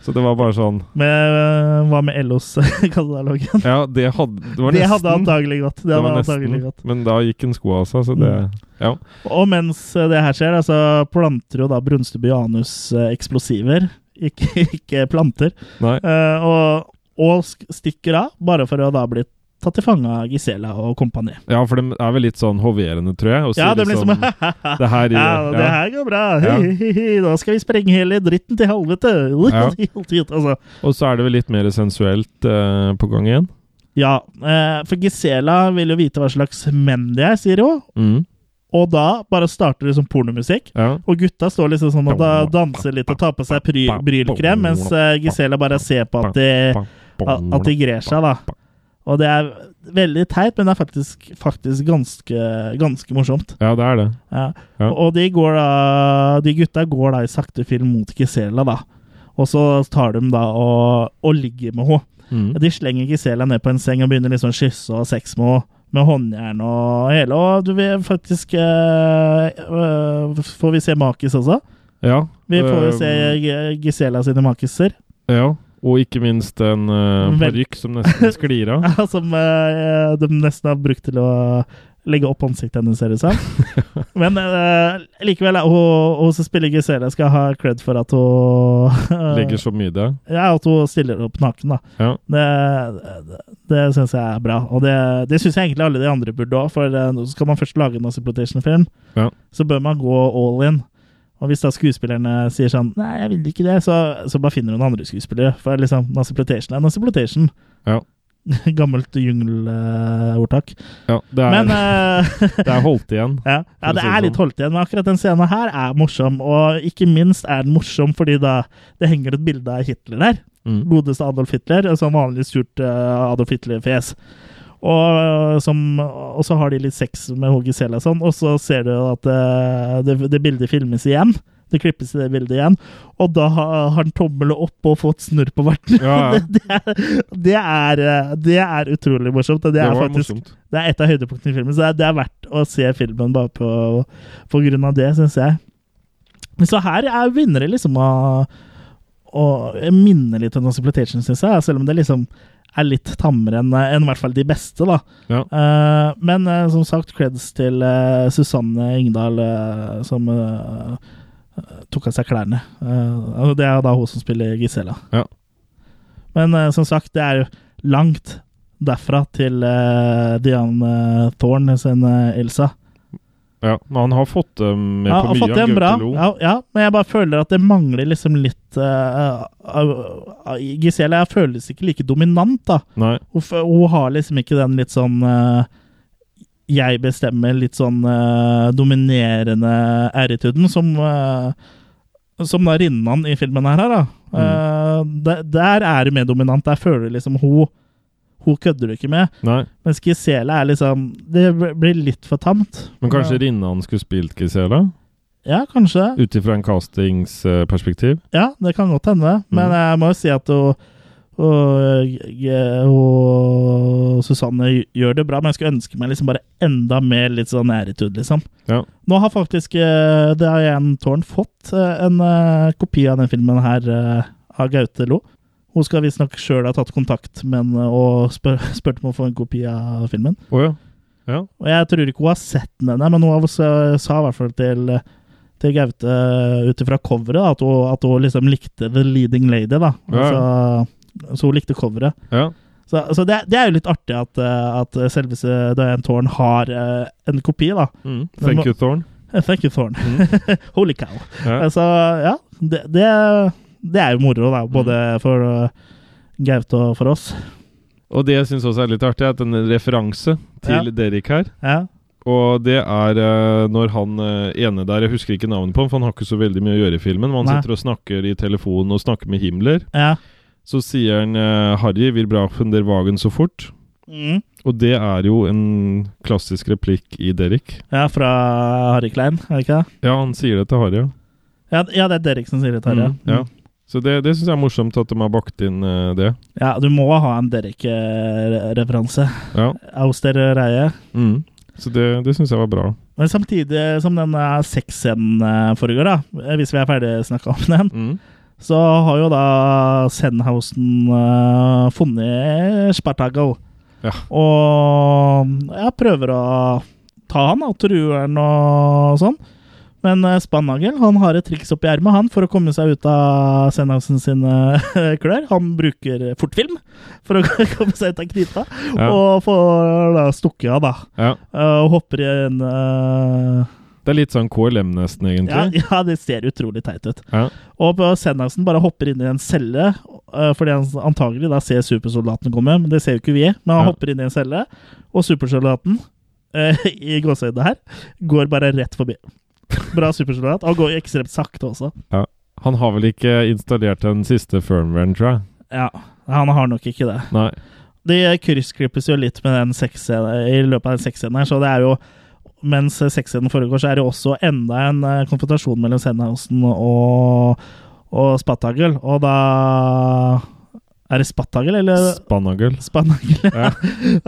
Speaker 3: Så det var bare sånn
Speaker 2: Med, øh, hva med LOs katalogen?
Speaker 3: Ja, det hadde Det var nesten.
Speaker 2: Det hadde antagelig gått. Det
Speaker 3: Det
Speaker 2: hadde
Speaker 3: var
Speaker 2: antagelig
Speaker 3: nesten.
Speaker 2: gått. Mm.
Speaker 3: Men da gikk en sko av seg, så det Ja.
Speaker 2: Og mens eh, det her skjer, da, så planter jo da Brunsteby anus eh, eksplosiver. Ikke, ikke planter.
Speaker 3: Nei.
Speaker 2: Eh, og, og sk- stikker av, bare for å da bli tatt til fange av Gisela og kompani.
Speaker 3: Ja, for de er vel litt sånn hoverende, tror jeg. Og
Speaker 2: Ja,
Speaker 3: sier
Speaker 2: det blir som
Speaker 3: liksom Det her
Speaker 2: Ja,
Speaker 3: gjør-
Speaker 2: det
Speaker 3: ja.
Speaker 2: her går bra! Hi,
Speaker 3: Ja.
Speaker 2: hi, hi, hi. Da skal vi sprenge hele dritten til helvete!
Speaker 3: Ja.
Speaker 2: altså.
Speaker 3: Og så er det vel litt mer sensuelt eh, på gang igjen.
Speaker 2: ja eh, for Gisela vil jo vite hva slags menn de er, sier hun.
Speaker 3: Mm.
Speaker 2: Og da bare starter det som pornomusikk.
Speaker 3: Ja.
Speaker 2: Og gutta står liksom sånn og da danser litt og tar på seg pry- brylkrem, mens eh, Gisela bare ser på at de, Eh, at de grer seg, da. Og det er veldig teit, men det er faktisk, faktisk ganske, ganske morsomt.
Speaker 3: Ja, det er det.
Speaker 2: Ja.
Speaker 3: Ja.
Speaker 2: Og de, går da, de gutta går da i sakte film mot Gisela, da. Og så tar de da og, og ligger med henne.
Speaker 3: Mm.
Speaker 2: De slenger Gisela ned på en seng og begynner liksom å kysse og ha sex med henne. Med håndjern og hele. Og du vil faktisk eh, øh, Får vi se makis også?
Speaker 3: Ja.
Speaker 2: Vi får jo
Speaker 3: eh,
Speaker 2: se G- Gisela sine makiser.
Speaker 3: Ja. Og ikke minst en uh,
Speaker 2: Vel-
Speaker 3: parykk som nesten sklir av.
Speaker 2: Som eh, de nesten har brukt til å legge opp ansiktet hennes, ser det ut som. Men eh, likevel, eh, hun, hun som spiller Gisela, skal ha cred for at hun
Speaker 3: Legger så mye der.
Speaker 2: Ja, at hun stiller opp naken, da.
Speaker 3: Ja.
Speaker 2: Det, det, det syns jeg er bra. Og det, det syns jeg egentlig alle de andre burde òg, for eh, nå skal man først lage en Nazipotation-film,
Speaker 3: Ja.
Speaker 2: så bør man gå all in. Og hvis da skuespillerne sier sånn 'nei, jeg vil ikke det', så, så bare finner hun andre skuespillere. For liksom, Nazipotation er Nazipotation.
Speaker 3: Ja.
Speaker 2: Gammelt jungelordtak.
Speaker 3: Ja, det er,
Speaker 2: Men eh,
Speaker 3: det er holdt igjen.
Speaker 2: ja. ja,
Speaker 3: å
Speaker 2: det
Speaker 3: si det
Speaker 2: er
Speaker 3: sånn.
Speaker 2: litt holdt igjen, men akkurat den scenen her er morsom. Og ikke minst er den morsom fordi da det henger et bilde av Hitler der.
Speaker 3: Mm.
Speaker 2: Godeste Adolf Hitler. Sånn vanlig surt eh, Adolf Hitler-fjes. Og, eh, som- og så har de litt sex med Hoge Sela og sånn, og så ser du at eh, det, det bildet filmes igjen. Det klippes i det bildet igjen, og da har har han tommelen opp og fått snurr på verten.
Speaker 3: Ja, ja.
Speaker 2: Det, er- det, er, eh, det er utrolig morsomt. og Det,
Speaker 3: Det
Speaker 2: er
Speaker 3: var
Speaker 2: faktisk
Speaker 3: morsomt.
Speaker 2: det er et av høydepunktene i filmen, så det er, det er verdt å se filmen bare på, på grunn av det, syns jeg. Men så her er vinnere liksom å, å minne litt om Ossiplitation, syns jeg. Selv om det liksom er litt tammere enn enn i hvert fall de beste, da.
Speaker 3: Ja.
Speaker 2: Eh, men eh, som sagt, creds til eh, Susanne Ingdal, eh, som eh, tok av seg klærne. Eh, og det er jo da hun som spiller Gisela.
Speaker 3: Ja.
Speaker 2: Men eh, som sagt, det er jo langt derfra til eh, Diane eh, Thorne sin eh, Elsa.
Speaker 3: Ja, men han har fått det med
Speaker 2: Ja,
Speaker 3: på
Speaker 2: har
Speaker 3: mye.
Speaker 2: fått det
Speaker 3: han
Speaker 2: bra.
Speaker 3: Gaute Lo.
Speaker 2: Ja, ja, men jeg bare føler at det mangler liksom litt eh, av- av- Gisela føles ikke like dominant, da.
Speaker 3: Nei.
Speaker 2: Hun, f- hun har liksom ikke den litt sånn eh, jeg bestemmer litt sånn eh, dominerende æretuden som eh, Som da Rinnan i filmen her, her da.
Speaker 3: Mm.
Speaker 2: Eh, de- der er det mer dominant. Der føler du liksom hun Hun kødder du ikke med.
Speaker 3: Nei,
Speaker 2: Mens Gisela er liksom Det blir litt for tamt.
Speaker 3: men kanskje Rinnan skulle spilt Gisela?
Speaker 2: Ja, kanskje.
Speaker 3: Ut ifra en castingsperspektiv?
Speaker 2: Ja, det kan godt hende.
Speaker 3: Mhm.
Speaker 2: Men jeg må jo si at hun og, og Susanne gjør det bra, men jeg skulle ønske meg liksom bare enda mer litt sånn æretud, liksom.
Speaker 3: Ja.
Speaker 2: Nå har faktisk eh, Det har Jan Tårn fått eh, en eh, kopi av den filmen her eh, av Gaute Lo. Hun skal visstnok sjøl ha tatt kontakt men, eh, og spør, spurt om å få en kopi av filmen.
Speaker 3: Å ja.
Speaker 2: Og jeg tror ikke hun har sett den ennå, men hun har også- eh, sa i hvert fall til, eh, til Gaute eh, ut ifra coveret da, at hun, at hun liksom likte The Leading Lady. da. Altså, Så hun likte coveret.
Speaker 3: ja.
Speaker 2: Så, så det, det er jo litt artig at, eh, at selveste Diane Thorne har eh, en kopi, da.
Speaker 3: Mm. Thank you, Thorn.
Speaker 2: Eh, Thank you, Thorne. Holy cow.
Speaker 3: Mm. Ja.
Speaker 2: Altså, ja. Det, det, det er jo moro, da.
Speaker 3: Mm.
Speaker 2: Både for eh, Gaute og for oss.
Speaker 3: Og det jeg syns også er litt artig, er at en referanse til
Speaker 2: Ja.
Speaker 3: Derek her
Speaker 2: Ja.
Speaker 3: Og det er eh, når han eh, ene der Jeg husker ikke navnet på ham, for han har ikke så veldig mye å gjøre i filmen. Men han
Speaker 2: Nei.
Speaker 3: sitter og snakker i telefonen og snakker med Himmler.
Speaker 2: ja.
Speaker 3: Så sier han eh, 'Harry vil bra von der Wagen så fort'.
Speaker 2: Mm.
Speaker 3: Og det er jo en klassisk replikk i Derek.
Speaker 2: ja, fra Harry Klein, er det ikke det?
Speaker 3: Ja, han sier det til Harry, ja.
Speaker 2: Ja, ja det er Derek som sier det, Tarjei.
Speaker 3: Mm, ja. Så det, det syns jeg er morsomt at de har bakt inn eh, det.
Speaker 2: Ja, du må ha en Derek-referanse.
Speaker 3: Ja.
Speaker 2: Auster Reie.
Speaker 3: Mm. Så det, det syns jeg var bra.
Speaker 2: Men samtidig som den eh, sexscenen eh, foregår, da, hvis vi er ferdig snakka om den,
Speaker 3: Mm.
Speaker 2: så har jo da Sennhausen eh, funnet Spartago.
Speaker 3: Ja.
Speaker 2: Og ja, prøver å ta han, da, truer han og sånn. Men eh, Spannagel han har et triks oppi ermet han, for å komme seg ut av Sennhausen sine klør. Han bruker fortfilm for å komme seg ut av krita,
Speaker 3: Ja.
Speaker 2: og får da stukket av, da.
Speaker 3: Ja.
Speaker 2: Eh, Og hopper i en eh,
Speaker 3: Det er litt sånn KLM nesten,
Speaker 2: ja,
Speaker 3: egentlig.
Speaker 2: ja, det ser utrolig teit ut.
Speaker 3: Ja.
Speaker 2: Og på Sennhausen bare hopper inn i en celle, øh, fordi han antagelig da ser supersoldaten komme, men det ser jo ikke vi. Men han
Speaker 3: Ja.
Speaker 2: hopper inn i en celle, og supersoldaten, øh, i gåseøynene her, går bare rett forbi. Bra supersoldat. Han går ekstremt sakte også.
Speaker 3: Han har vel ikke installert den siste firmwaren, tror jeg.
Speaker 2: Ja, han har nok ikke det.
Speaker 3: Nei.
Speaker 2: De kryssklippes jo litt med den sexscenen- i løpet av den sexscenen her, så det er jo Mens sexscenen foregår, så er det jo også enda en eh, konfrontasjon mellom Sennhausen og, og Spattagel, og da Er det Spattagel, eller?
Speaker 3: Spannagel.
Speaker 2: Spannagel. Ja.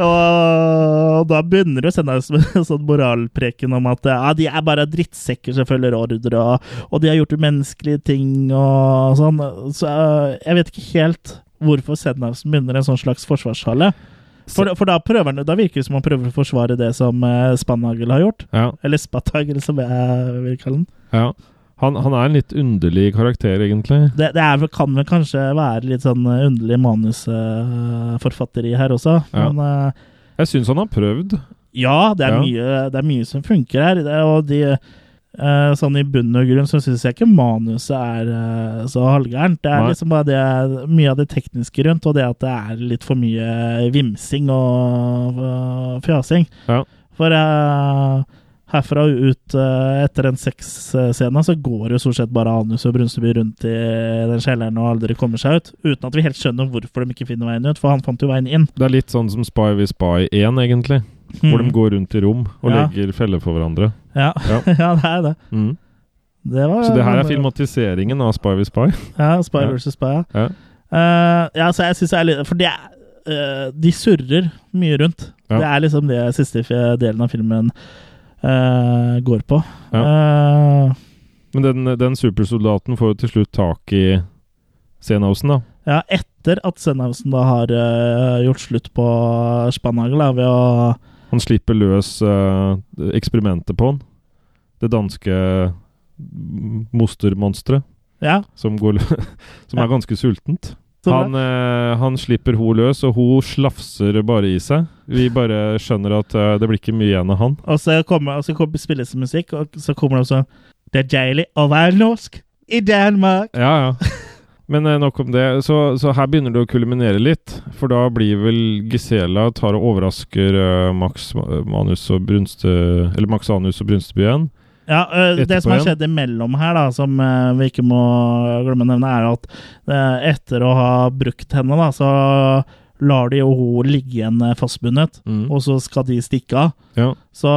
Speaker 2: og da begynner jo Sennhausen med en sånn moralpreken om at ja, de er bare drittsekker som følger ordre, og, og de har gjort umenneskelige ting og sånn. Så eh, jeg vet ikke helt hvorfor Sennhausen begynner en sånn slags forsvarshale. For, for da, prøver han, da virker det som han prøver å forsvare det som eh, Spannagel har gjort.
Speaker 3: Ja.
Speaker 2: Eller Spattagel, som jeg eh, vil kalle den.
Speaker 3: ja. Han, han er en litt underlig karakter, egentlig.
Speaker 2: Det, det er, vel- kan vel kanskje være litt sånn eh, underlig manusforfatteri her også,
Speaker 3: Ja.
Speaker 2: men eh,
Speaker 3: Jeg syns han har prøvd.
Speaker 2: Ja, det er,
Speaker 3: Ja.
Speaker 2: Mye, det er mye som funker her. Det, og de, eh, sånn i bunn og grunn så syns jeg ikke manuset er eh, så halvgærent. Det er
Speaker 3: Nei.
Speaker 2: liksom bare det, mye av det tekniske rundt, og det at det er litt for mye vimsing og eh, fjasing.
Speaker 3: Ja.
Speaker 2: For eh, herfra og ut eh, etter den sexscenen så går jo stort sett bare Anus og Brunsteby rundt i den kjelleren og aldri kommer seg ut. Uten at vi helt skjønner hvorfor de ikke finner veien ut, for han fant jo veien inn.
Speaker 3: Det er litt sånn som Spy with Spy 1, egentlig. Hvor de går rundt i rom og
Speaker 2: Ja.
Speaker 3: legger feller for hverandre.
Speaker 2: Ja.
Speaker 3: Ja.
Speaker 2: ja, det er det.
Speaker 3: Mm.
Speaker 2: Det var,
Speaker 3: Så det her er filmatiseringen av Spy with Spy.
Speaker 2: Ja, Spy
Speaker 3: Ja.
Speaker 2: versus Spy. Ja.
Speaker 3: Ja.
Speaker 2: Eh, ja, så jeg synes det er litt For det er, eh, de surrer mye rundt.
Speaker 3: Ja.
Speaker 2: Det er liksom det siste f- delen av filmen eh, går på. Eh,
Speaker 3: Men den, den supersoldaten får jo til slutt tak i Senhausen, da.
Speaker 2: ja, etter at Sennhausen da har eh, gjort slutt på Spannhagel da, ved å
Speaker 3: Han slipper løs eh, eksperimentet på han. Det danske mostermonsteret
Speaker 2: Ja.
Speaker 3: som, går lø- som
Speaker 2: Ja.
Speaker 3: er ganske sultent.
Speaker 2: Så
Speaker 3: Han, eh, han slipper hun løs, og hun slafser bare i seg. Vi bare skjønner at eh, det blir ikke mye igjen av han.
Speaker 2: Og så kommer og så kommer, spilles det musikk, og så kommer det sånn Det er deilig å være norsk i Danmark.
Speaker 3: Ja, ja. Men eh, nok om det. Så, så her begynner det å kulminere litt. For da blir vel Gisela tar og overrasker eh, Max Ma- Manus og Brunste Eller Max Anus og Brunsteby igjen.
Speaker 2: Ja, øh, Det
Speaker 3: Etterpå
Speaker 2: som har
Speaker 3: igjen.
Speaker 2: skjedd imellom her, da, som øh, vi ikke må glemme å nevne, er at øh, etter å ha brukt henne, da, så lar de jo henne ligge igjen øh, fastbundet.
Speaker 3: Mm.
Speaker 2: Og så skal de stikke av.
Speaker 3: Ja.
Speaker 2: Så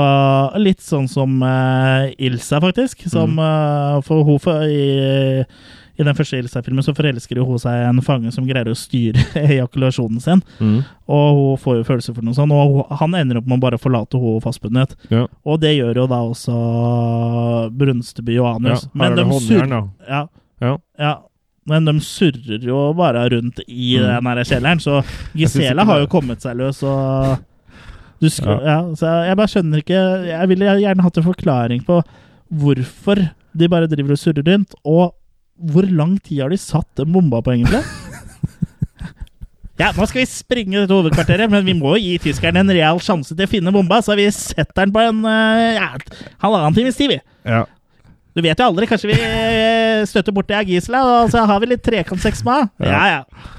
Speaker 2: litt sånn som eh, Ilsa, faktisk.
Speaker 3: Mm.
Speaker 2: Som, eh, for hun for, i, I den første Ilsa-filmen så forelsker jo hun seg i en fange som greier å styre ejakulasjonen sin.
Speaker 3: Mm.
Speaker 2: Og hun får jo følelser for noe sånt, og hun, han ender opp med å bare forlate henne fastbundet.
Speaker 3: Ja.
Speaker 2: Og det gjør jo da også Brunsteby og
Speaker 3: ja.
Speaker 2: Anus.
Speaker 3: Her er det
Speaker 2: surrer-
Speaker 3: håndjern, da.
Speaker 2: ja,
Speaker 3: Ja.
Speaker 2: ja. Men de surrer jo bare rundt i
Speaker 3: Mm.
Speaker 2: den her kjelleren, så
Speaker 3: synes ikke
Speaker 2: Gisela
Speaker 3: det-
Speaker 2: har jo kommet seg løs, og du sk ja.
Speaker 3: Ja.
Speaker 2: så jeg bare skjønner ikke Jeg ville gjerne hatt en forklaring på hvorfor de bare driver og surrer rundt, og hvor lang tid har de satt den bomba på, egentlig? Ja, nå skal vi springe dette hovedkvarteret, men vi må jo gi tyskerne en real sjanse til å finne bomba, så vi setter den på en eh, ja, halvannen times tid, vi.
Speaker 3: Ja.
Speaker 2: Du vet jo aldri. Kanskje vi eh, støtter borti ei gisla, og så har vi litt trekantsex med henne. Ja, ja.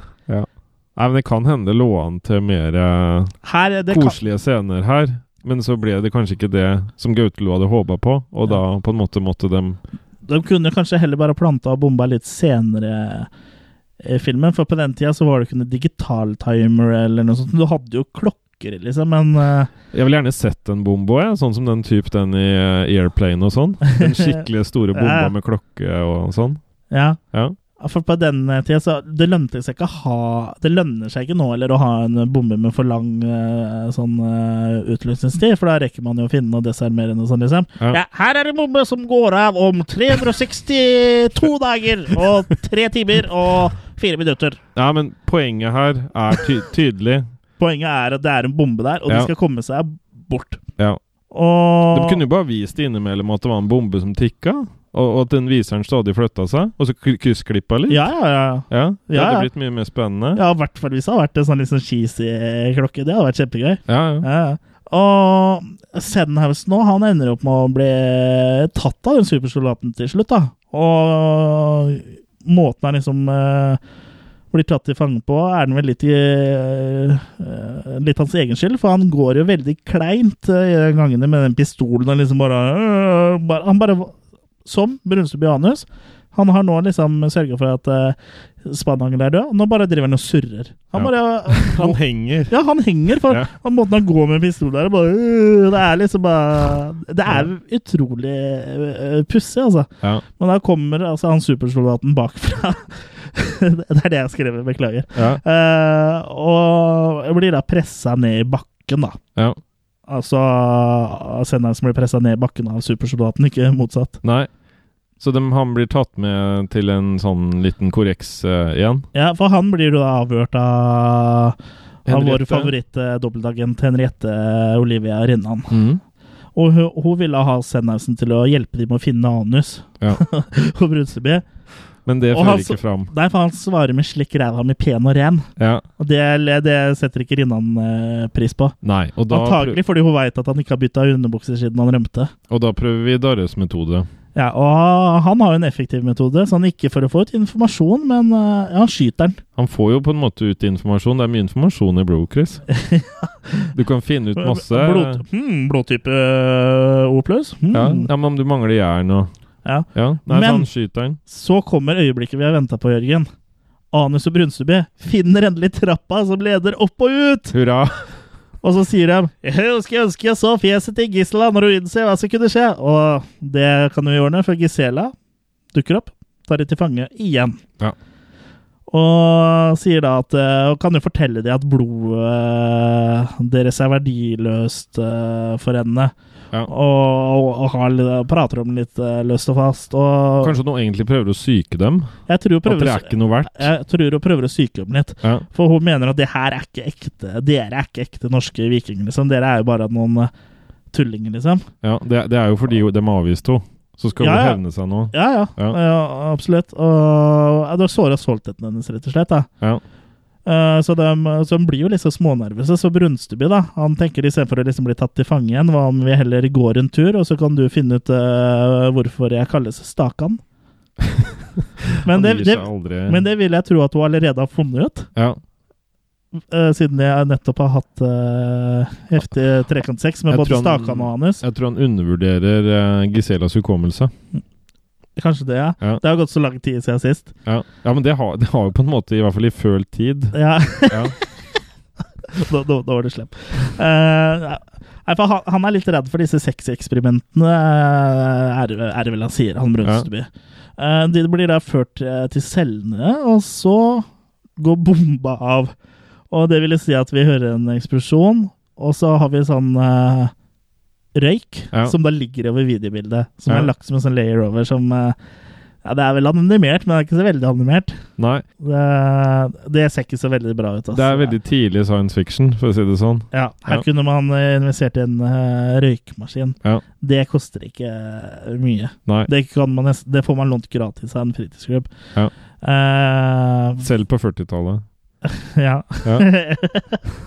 Speaker 3: Nei, men det kan hende det lå an til mer eh,
Speaker 2: Her, det kan,
Speaker 3: koselige scener her. Men så ble det kanskje ikke det som Gautelo hadde håpa på, og da på en måte måtte dem
Speaker 2: de kunne kanskje heller bare planta og bomba litt senere i filmen, for på den tida så var det ikke noe digital timer eller noe sånt. Du hadde jo klokker, liksom, men eh,
Speaker 3: Jeg vil gjerne sett en bombo, jeg. Sånn som den type den i eh, Airplane og sånn. Den skikkelig store bomba
Speaker 2: Ja.
Speaker 3: med klokke og sånn.
Speaker 2: ja.
Speaker 3: Ja.
Speaker 2: Ja, For på den tida så Det lønte seg ikke å ha Det lønner seg ikke nå eller å ha en bombe med for lang eh, sånn eh, utløsningstid, for da rekker man jo å finne den og desarmere den og sånn, liksom. Ja.
Speaker 3: Ja.
Speaker 2: her er det en bombe som går av om 362 dager og 3 timer og 4 minutter.
Speaker 3: Nei, men poenget her er ty tydelig.
Speaker 2: Poenget er at det er en bombe der, og de
Speaker 3: Ja.
Speaker 2: skal komme seg bort.
Speaker 3: Ja.
Speaker 2: Og
Speaker 3: De kunne jo bare vist det innimellom at det var en bombe som tikka, og, og at den viseren stadig flytta seg, og så kry- kryssklippa litt.
Speaker 2: Ja, ja, ja.
Speaker 3: Ja, det
Speaker 2: Ja,
Speaker 3: hadde
Speaker 2: ja.
Speaker 3: blitt mye mer spennende.
Speaker 2: Ja, i hvert fall hvis det hadde vært en sånn litt sånn cheesy klokke. Det hadde vært kjempegøy.
Speaker 3: Ja, ja.
Speaker 2: Ja. ja. Og Sedenhouse nå, han ender opp med å bli tatt av den supersoldaten til slutt, da. Og måten han liksom eh, blir tatt til fange på, er den vel litt i eh, Litt hans egen skyld, for han går jo veldig kleint eh, i de gangene med den pistolen og liksom bare, øh, bare Han bare Som Brunsteby Anus. Han har nå liksom sørga for at uh, Spanhangel er død, og nå bare driver han og surrer. Han
Speaker 3: Ja.
Speaker 2: bare
Speaker 3: Han henger.
Speaker 2: ja, han henger for
Speaker 3: Ja.
Speaker 2: og måten han går med pistol der og bare øh, Det er liksom bare Det er utrolig øh, pussig, altså.
Speaker 3: Ja.
Speaker 2: Men da kommer altså han supersoldaten bakfra. det er det jeg skrev, beklager.
Speaker 3: Ja.
Speaker 2: Eh, og blir da pressa ned i bakken, da.
Speaker 3: ja.
Speaker 2: Altså senderen som blir pressa ned i bakken av supersoldaten, ikke motsatt.
Speaker 3: Nei. Så dem- han blir tatt med til en sånn liten korreks eh, igjen.
Speaker 2: Ja, for han blir jo da avhørt av, av vår
Speaker 3: Henriette.
Speaker 2: favoritt-dobbeltagent Henriette Olivia Rinnan.
Speaker 3: Mhm.
Speaker 2: Og hun, hun ville ha Sennhausen til å hjelpe dem med å finne anus
Speaker 3: Ja.
Speaker 2: og Brunsteby.
Speaker 3: Men det
Speaker 2: Og
Speaker 3: fører
Speaker 2: han så-
Speaker 3: ikke fram.
Speaker 2: Nei, for han svarer med 'slikk ræva mi pen og ren'.
Speaker 3: Ja.
Speaker 2: Og det, det setter ikke Rinnan eh, pris på.
Speaker 3: Nei. Og da, prøv,
Speaker 2: Antagelig fordi hun veit at han ikke har bytta underbukser siden han rømte.
Speaker 3: og da prøver vi Darres metode.
Speaker 2: Ja, Og han har jo en effektiv metode, så han ikke for å få ut informasjon, men eh, ja, han skyter den.
Speaker 3: Han får jo på en måte ut informasjon. Det er mye informasjon i blod, Chris. Du kan finne ut masse.
Speaker 2: Blod, hmm, blodtype eh, O pluss. Hmm.
Speaker 3: Ja, ja, men om du mangler jern og
Speaker 2: Ja.
Speaker 3: Ja, nei,
Speaker 2: Men-
Speaker 3: så han skyter den.
Speaker 2: Så kommer øyeblikket vi har venta på, Jørgen. Anus og Brunsteby finner endelig trappa som leder opp og ut!
Speaker 3: Hurra!
Speaker 2: Og så sier de Jeg skulle ønske jeg så fjeset til Gisela når hun innser hva som kunne skje. Og det kan hun gjøre, nå, for Gisela dukker opp, tar de til fange igjen.
Speaker 3: Ja.
Speaker 2: Og sier da at eh, Og kan jo fortelle dem at blodet deres er verdiløst eh, for henne.
Speaker 3: Ja.
Speaker 2: Og, og har, litt- prater om det litt eh, løst og fast. Og
Speaker 3: Kanskje noen egentlig prøver å psyke dem?
Speaker 2: jeg tror hun
Speaker 3: At
Speaker 2: prøver,
Speaker 3: det
Speaker 2: å
Speaker 3: er
Speaker 2: sy-
Speaker 3: ikke noe verdt?
Speaker 2: jeg tror hun prøver å psyke dem litt.
Speaker 3: Ja.
Speaker 2: For hun mener at det her er ikke ekte Dere er ikke ekte norske vikinger, liksom. Dere er jo bare noen eh, tullinger, liksom.
Speaker 3: ja det, det er jo fordi de avviste henne. Så skal
Speaker 2: Ja,
Speaker 3: hun
Speaker 2: ja.
Speaker 3: hevne seg nå.
Speaker 2: Ja, ja. ja.
Speaker 3: Ja.
Speaker 2: absolutt. Og ja, det var såra stoltheten hennes, rett og slett. da.
Speaker 3: Ja.
Speaker 2: Eh, så, de, så de blir jo liksom smånervøse. Så Brunsteby, da. Han tenker istedenfor å liksom bli tatt til fange igjen, hva om vi heller går en tur, og så kan du finne ut eh, hvorfor jeg kalles Stakan? Men det,
Speaker 3: gir
Speaker 2: det,
Speaker 3: seg aldri.
Speaker 2: men det vil jeg tro at du allerede har funnet ut,
Speaker 3: ja.
Speaker 2: eh, siden jeg nettopp har hatt eh, heftig trekantsex med
Speaker 3: Jeg
Speaker 2: både
Speaker 3: tror han-
Speaker 2: Stakan og Anus.
Speaker 3: Jeg tror han undervurderer eh, Giselas hukommelse.
Speaker 2: Kanskje det, ja.
Speaker 3: Ja.
Speaker 2: Det har gått så lang tid siden sist.
Speaker 3: Ja, ja men det har, det har jo på en måte, i hvert fall i følt tid
Speaker 2: Ja,
Speaker 3: ja.
Speaker 2: da, da, da var det slem. Eh, nei, for han, han er litt redd for disse sexeksperimentene, eh, er, det- er det vel han sier, han Brunsteby. Eh, de blir da ført eh, til cellene, og så går bomba av. Og det vil si at vi hører en eksplosjon, og så har vi sånn eh, røyk,
Speaker 3: Ja.
Speaker 2: som da ligger over videobildet, som
Speaker 3: Ja.
Speaker 2: er lagt som en sånn layer over, som eh, ja, Det er vel animert, men det er ikke så veldig animert.
Speaker 3: Nei,
Speaker 2: Det, det ser ikke så veldig bra ut. altså.
Speaker 3: det er veldig tidlig science fiction, for å si det sånn.
Speaker 2: Ja, her
Speaker 3: Ja.
Speaker 2: kunne man eh, investert i en eh, røykemaskin.
Speaker 3: Ja.
Speaker 2: Det koster ikke eh, mye.
Speaker 3: Nei,
Speaker 2: Det, kan man nest, det får man lånt gratis av en fritidsklubb.
Speaker 3: Ja.
Speaker 2: Eh,
Speaker 3: selv på 40-tallet.
Speaker 2: ja.
Speaker 3: Ja.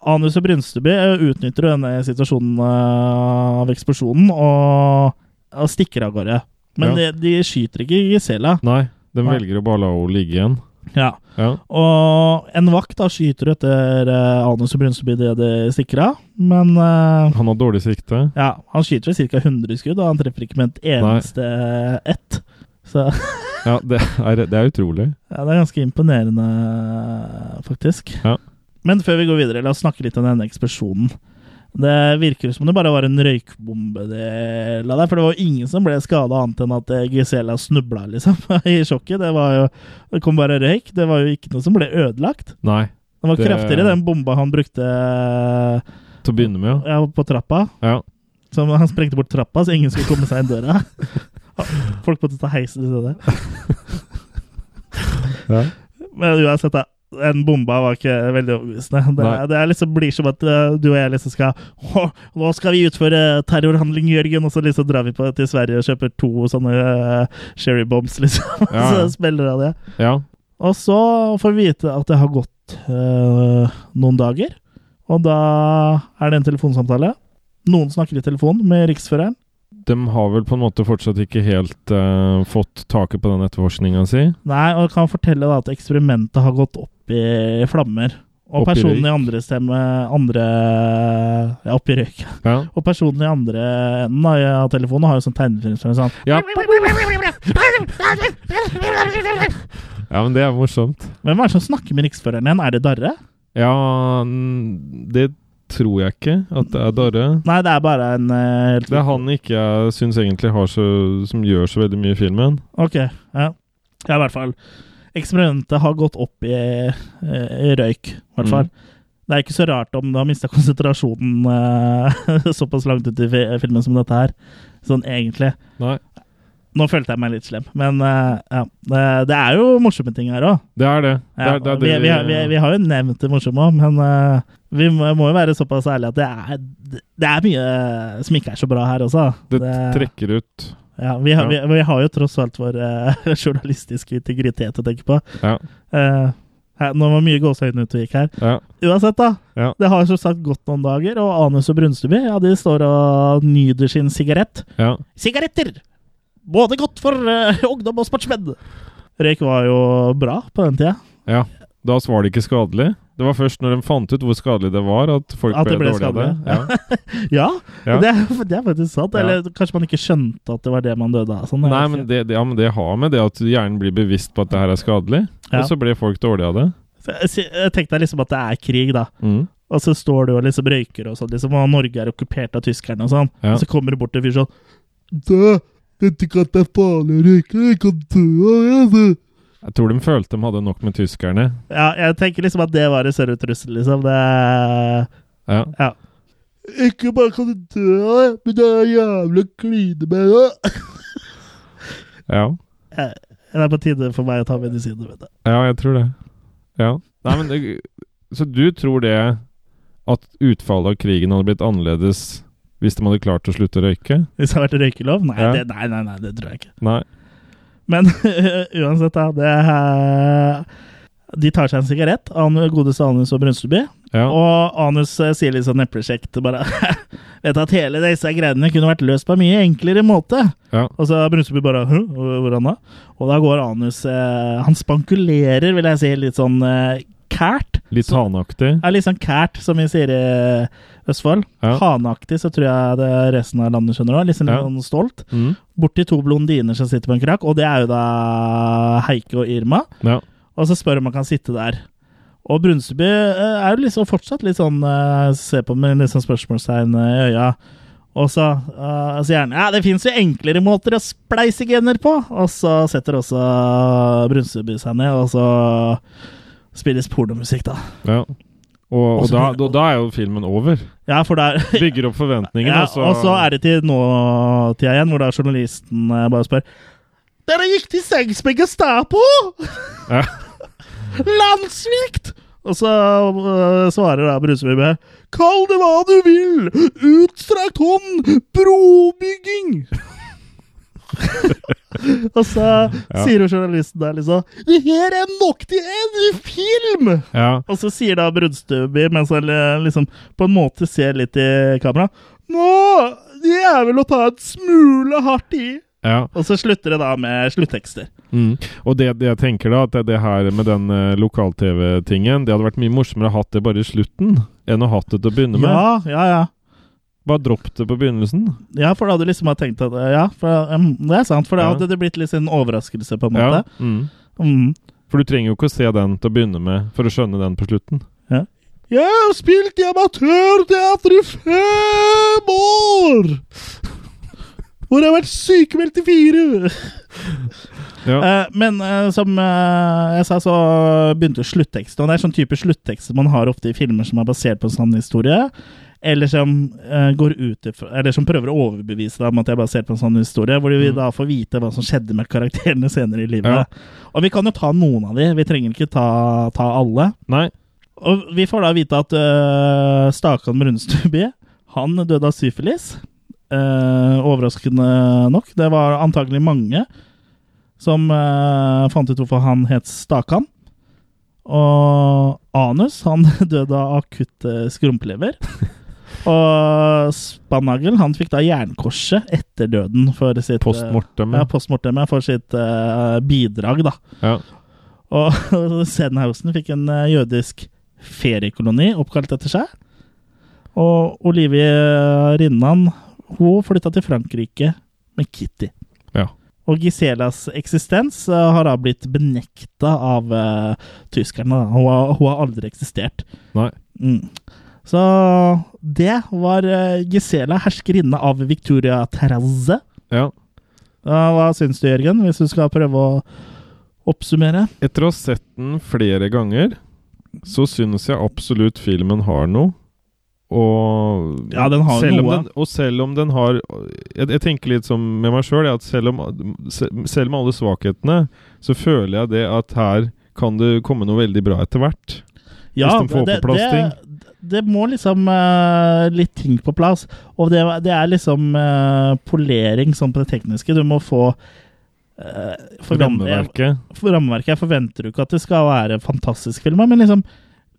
Speaker 2: Anus og Brunsteby eh, utnytter jo denne situasjonen eh, av eksplosjonen og, og stikker av gårde. Men de, de skyter ikke Gisela.
Speaker 3: Nei, de
Speaker 2: Nei.
Speaker 3: velger å bare la henne ligge igjen.
Speaker 2: Ja.
Speaker 3: Ja.
Speaker 2: Og en vakt da skyter etter eh, Anus og Brunsteby det de stikker av, men eh,
Speaker 3: Han har dårlig sikte.
Speaker 2: Ja, han skyter vel ca. 100 skudd, og han treffer ikke med et eneste ett. Så
Speaker 3: Ja, det er, det er utrolig.
Speaker 2: ja, det er ganske imponerende, faktisk.
Speaker 3: Ja.
Speaker 2: Men før vi går videre, la oss snakke litt om denne eksplosjonen. Det virker som det bare var en røykbombe de la der, for det var jo ingen som ble skada annet enn at eh, Gisela snubla, liksom, i sjokket. Det var jo Det kom bare røyk. Det var jo ikke noe som ble ødelagt.
Speaker 3: Nei,
Speaker 2: Det var
Speaker 3: Det-
Speaker 2: kraftigere, den bomba han brukte eh,
Speaker 3: til å begynne med,
Speaker 2: ja, på trappa.
Speaker 3: ja.
Speaker 2: Så han sprengte bort trappa, så ingen skulle komme seg inn døra. Folk måtte ta heisen i stedet.
Speaker 3: Ja.
Speaker 2: Men uansett, da. Den bomba var ikke veldig overbevisende. Det,
Speaker 3: Nei.
Speaker 2: det er liksom blir som at eh, du og jeg liksom skal Å, nå skal vi utføre terrorhandling, Jørgen, og så liksom drar vi på til Sverige og kjøper to sånne uh, sherry bombs, liksom.
Speaker 3: Ja, ja.
Speaker 2: så spiller han det.
Speaker 3: ja.
Speaker 2: Og så får vi vite at det har gått eh, noen dager. Og da er det en telefonsamtale. Noen snakker i telefon med riksføreren.
Speaker 3: De har vel på en måte fortsatt ikke helt eh, fått taket på den etterforskninga si.
Speaker 2: Nei, og kan fortelle da at eksperimentet har gått opp i flammer. Og
Speaker 3: Opp i
Speaker 2: personen
Speaker 3: røyk.
Speaker 2: i andre stemme andre, Ja, opp i røyk.
Speaker 3: Ja.
Speaker 2: Og personen i andre enden av av telefonen har jo sånn tegnefilmstemme. Sånn.
Speaker 3: Ja. ja, men det er morsomt.
Speaker 2: Hvem er det som snakker med riksføreren igjen? Er det Darre?
Speaker 3: Ja, n- det tror jeg ikke at det er Darre.
Speaker 2: Nei, det er bare en eh, helt
Speaker 3: Det er han ikke jeg syns egentlig har så, som gjør så veldig mye i filmen.
Speaker 2: Ok, ja. Ja, i hvert fall. Eksperimentet har gått opp i, eh, i røyk, i
Speaker 3: Mm.
Speaker 2: hvert fall. Det er ikke så rart om du har mista konsentrasjonen eh, såpass langt ut i fi- filmen som dette her. Sånn egentlig.
Speaker 3: Nei.
Speaker 2: Nå følte jeg meg litt slem, men eh, ja. Det, det er jo morsomme ting her òg.
Speaker 3: Det er det. Det
Speaker 2: Ja,
Speaker 3: er, det, er
Speaker 2: vi,
Speaker 3: det
Speaker 2: vi, har- vi, vi har jo nevnt det morsomme òg, men eh, vi må, må jo være såpass ærlige at det er, det- det er mye som ikke er så bra her også.
Speaker 3: det trekker ut.
Speaker 2: Ja, vi har,
Speaker 3: Ja.
Speaker 2: Vi, vi har jo tross alt vår eh, journalistiske integritet å tenke på.
Speaker 3: Ja.
Speaker 2: Eh, her, nå var mye gåseøyne ute og gikk her.
Speaker 3: Ja.
Speaker 2: Uansett, da.
Speaker 3: Ja.
Speaker 2: Det har som sagt gått noen dager, og Anus og Brunsteby ja, de står og nyter sin sigarett.
Speaker 3: ja.
Speaker 2: Sigaretter! Både godt for eh, ungdom og sportsmenn! Røyk var jo bra på den tida.
Speaker 3: ja. Da var det ikke skadelig. Det var først når de fant ut hvor skadelig det var, at folk
Speaker 2: At det
Speaker 3: ble,
Speaker 2: ble
Speaker 3: dårlige av det.
Speaker 2: skadelig.
Speaker 3: Ja.
Speaker 2: Ja,
Speaker 3: Ja.
Speaker 2: Det, er- det er faktisk sant.
Speaker 3: Ja.
Speaker 2: Eller kanskje man ikke skjønte at det var det man døde av. Sånn, jeg
Speaker 3: Nei,
Speaker 2: vet
Speaker 3: men
Speaker 2: ikke.
Speaker 3: det, det, ja, men det har med det at hjernen blir bevisst på at det her er skadelig,
Speaker 2: Ja.
Speaker 3: og så blir folk dårlige av det.
Speaker 2: Så jeg si- Jeg tenkte liksom at det er krig, da.
Speaker 3: Mm.
Speaker 2: Og så står du og liksom røyker og sånn, liksom, og Norge er okkupert av tyskerne og sånn.
Speaker 3: Ja.
Speaker 2: Og så kommer det bort en fyr sånn Dø! Vet ikke at det er farlig å røyke, jeg kan dø av det! du!»
Speaker 3: Jeg tror de følte de hadde nok med tyskerne.
Speaker 2: Ja, jeg tenker liksom at det var en større trussel, liksom. Det
Speaker 3: Ja.
Speaker 2: Ja. Ikke bare kan du dø av det, men det er jævla kline med det.
Speaker 3: ja.
Speaker 2: Det er på tide for meg å ta medisiner, vet du.
Speaker 3: Ja, jeg tror det. Ja. Nei, men det, så du tror det at utfallet av krigen hadde blitt annerledes hvis de hadde klart å slutte å røyke?
Speaker 2: Hvis det har vært røykelov? Nei,
Speaker 3: Ja.
Speaker 2: det, nei, nei, nei, det tror jeg ikke.
Speaker 3: Nei.
Speaker 2: Men uansett, da. Det, er- de tar seg en sigarett, Anu- godeste Anus og Brunsteby.
Speaker 3: Ja.
Speaker 2: Og Anus eh, sier litt sånn eplekjekt bare vet at hele disse greiene kunne vært løst på en mye enklere måte.
Speaker 3: Ja.
Speaker 2: Og så Brunseby bare Hø? Hvordan da? Og da går Anus eh, Han spankulerer, vil jeg si, litt sånn eh, kært.
Speaker 3: Litt hanaktig.
Speaker 2: Ja, litt sånn kært, som vi sier i eh, Østfold.
Speaker 3: Ja.
Speaker 2: Haneaktig, så tror jeg det resten av landet skjønner òg. Litt sånn
Speaker 3: Ja.
Speaker 2: sånn stolt.
Speaker 3: Mm.
Speaker 2: Borti to blondiner som sitter på en krakk, og det er jo da Heike og Irma.
Speaker 3: Ja.
Speaker 2: Og så spør om han kan sitte der. Og Brunsteby eh, er jo liksom fortsatt litt sånn eh, Se på med litt sånn spørsmålstegn eh, i øya. Og så eh, sier han ja, det fins jo enklere måter å spleise gener på. Og så setter også Brunsteby seg ned, og så spilles pornomusikk, da.
Speaker 3: ja. Og, og
Speaker 2: Også-
Speaker 3: da, da, da er jo filmen over.
Speaker 2: Ja, for det er
Speaker 3: Bygger opp altså. forventningene,
Speaker 2: ja,
Speaker 3: og så
Speaker 2: Og så er det til nåtida igjen, hvor da journalisten eh, bare spør Dere gikk til sengs med Gestapo!
Speaker 3: Ja.
Speaker 2: Landssvikt! Og så eh, svarer da Bruseby med Kall det hva du vil! Utstrakt hånd! Brobygging! og så sier jo journalisten der liksom Det her er nok til en film!
Speaker 3: ja.
Speaker 2: Og så sier da Brudstøby, mens han eh, liksom på en måte ser litt i kamera Nå! Det er vel å ta et smule hardt i.
Speaker 3: ja.
Speaker 2: Og så slutter det da med sluttekster.
Speaker 3: Mm. Og det, det jeg tenker da, at det, det her med den eh, lokal-TV-tingen Det hadde vært mye morsommere å hatt det bare i slutten enn å hatt det til å begynne med.
Speaker 2: Ja, ja, ja.
Speaker 3: Bare dropp det på begynnelsen.
Speaker 2: Ja, for da hadde du liksom ha tenkt at eh, Ja, for, em, det er sant, for da
Speaker 3: Ja.
Speaker 2: hadde det blitt litt en overraskelse, på en
Speaker 3: Ja.
Speaker 2: måte.
Speaker 3: Mm.
Speaker 2: Mm.
Speaker 3: For du trenger jo ikke å se den til å begynne med for å skjønne den på slutten.
Speaker 2: Jeg har spilt i amatørteater i fem år! Hvor jeg har vært sykemeldt i fire!
Speaker 3: Ja.
Speaker 2: Eh, men eh, som eh, jeg sa, så begynte slutteksten. Og det er sånn type sluttekster man har ofte i filmer som er basert på en sann historie. Eller som, eh, går ut ifra, eller som prøver å overbevise deg om at det er basert på en sann historie. Hvor vi da får vite hva som skjedde med karakterene senere i
Speaker 3: Mm.
Speaker 2: livet.
Speaker 3: Ja.
Speaker 2: Og vi kan jo ta noen av de. Vi trenger ikke ta, ta alle.
Speaker 3: Nei.
Speaker 2: Og vi får da vite at øh, Stakan Brunstubie Han døde av syfilis. Eh, overraskende nok. Det var antagelig mange som eh, fant ut hvorfor han het Stakan. Og Anus han døde av akutt eh, skrumplever. Og Spannagel han fikk da jernkorset etter døden for sitt eh,
Speaker 3: Post mortem.
Speaker 2: Ja, post mortem, ja, for sitt eh, bidrag, da.
Speaker 3: Ja.
Speaker 2: Og Sedenhausen fikk en eh, jødisk feriekoloni oppkalt etter seg. Og Olivie Rinnan hun flytta til Frankrike med Kitty.
Speaker 3: Ja.
Speaker 2: Og Giselas eksistens eh, har da blitt benekta av eh, tyskerne. da. Hun har, hun har aldri eksistert.
Speaker 3: Nei.
Speaker 2: Mm. Så det var eh, Gisela, herskerinne av Victoria Terrasse.
Speaker 3: ja.
Speaker 2: Ja, Hva syns du, Jørgen, hvis du skal prøve å oppsummere?
Speaker 3: Etter å ha sett den flere ganger, så syns jeg absolutt filmen har noe. Og
Speaker 2: Ja, den har
Speaker 3: selv om
Speaker 2: noe.
Speaker 3: Den, og selv om den har Jeg, jeg tenker litt som med meg sjøl, at selv, om, se- selv med alle svakhetene, så føler jeg det at her kan det komme noe veldig bra etter hvert. Hvis de får på plass
Speaker 2: Det, det må liksom eh, litt ting på plass. Og det, det er liksom eh, polering sånn på det tekniske. Du må få uh,
Speaker 3: Rammeverket.
Speaker 2: eh, for rammeverket. Jeg forventer jo ikke at det skal være fantastisk film, men liksom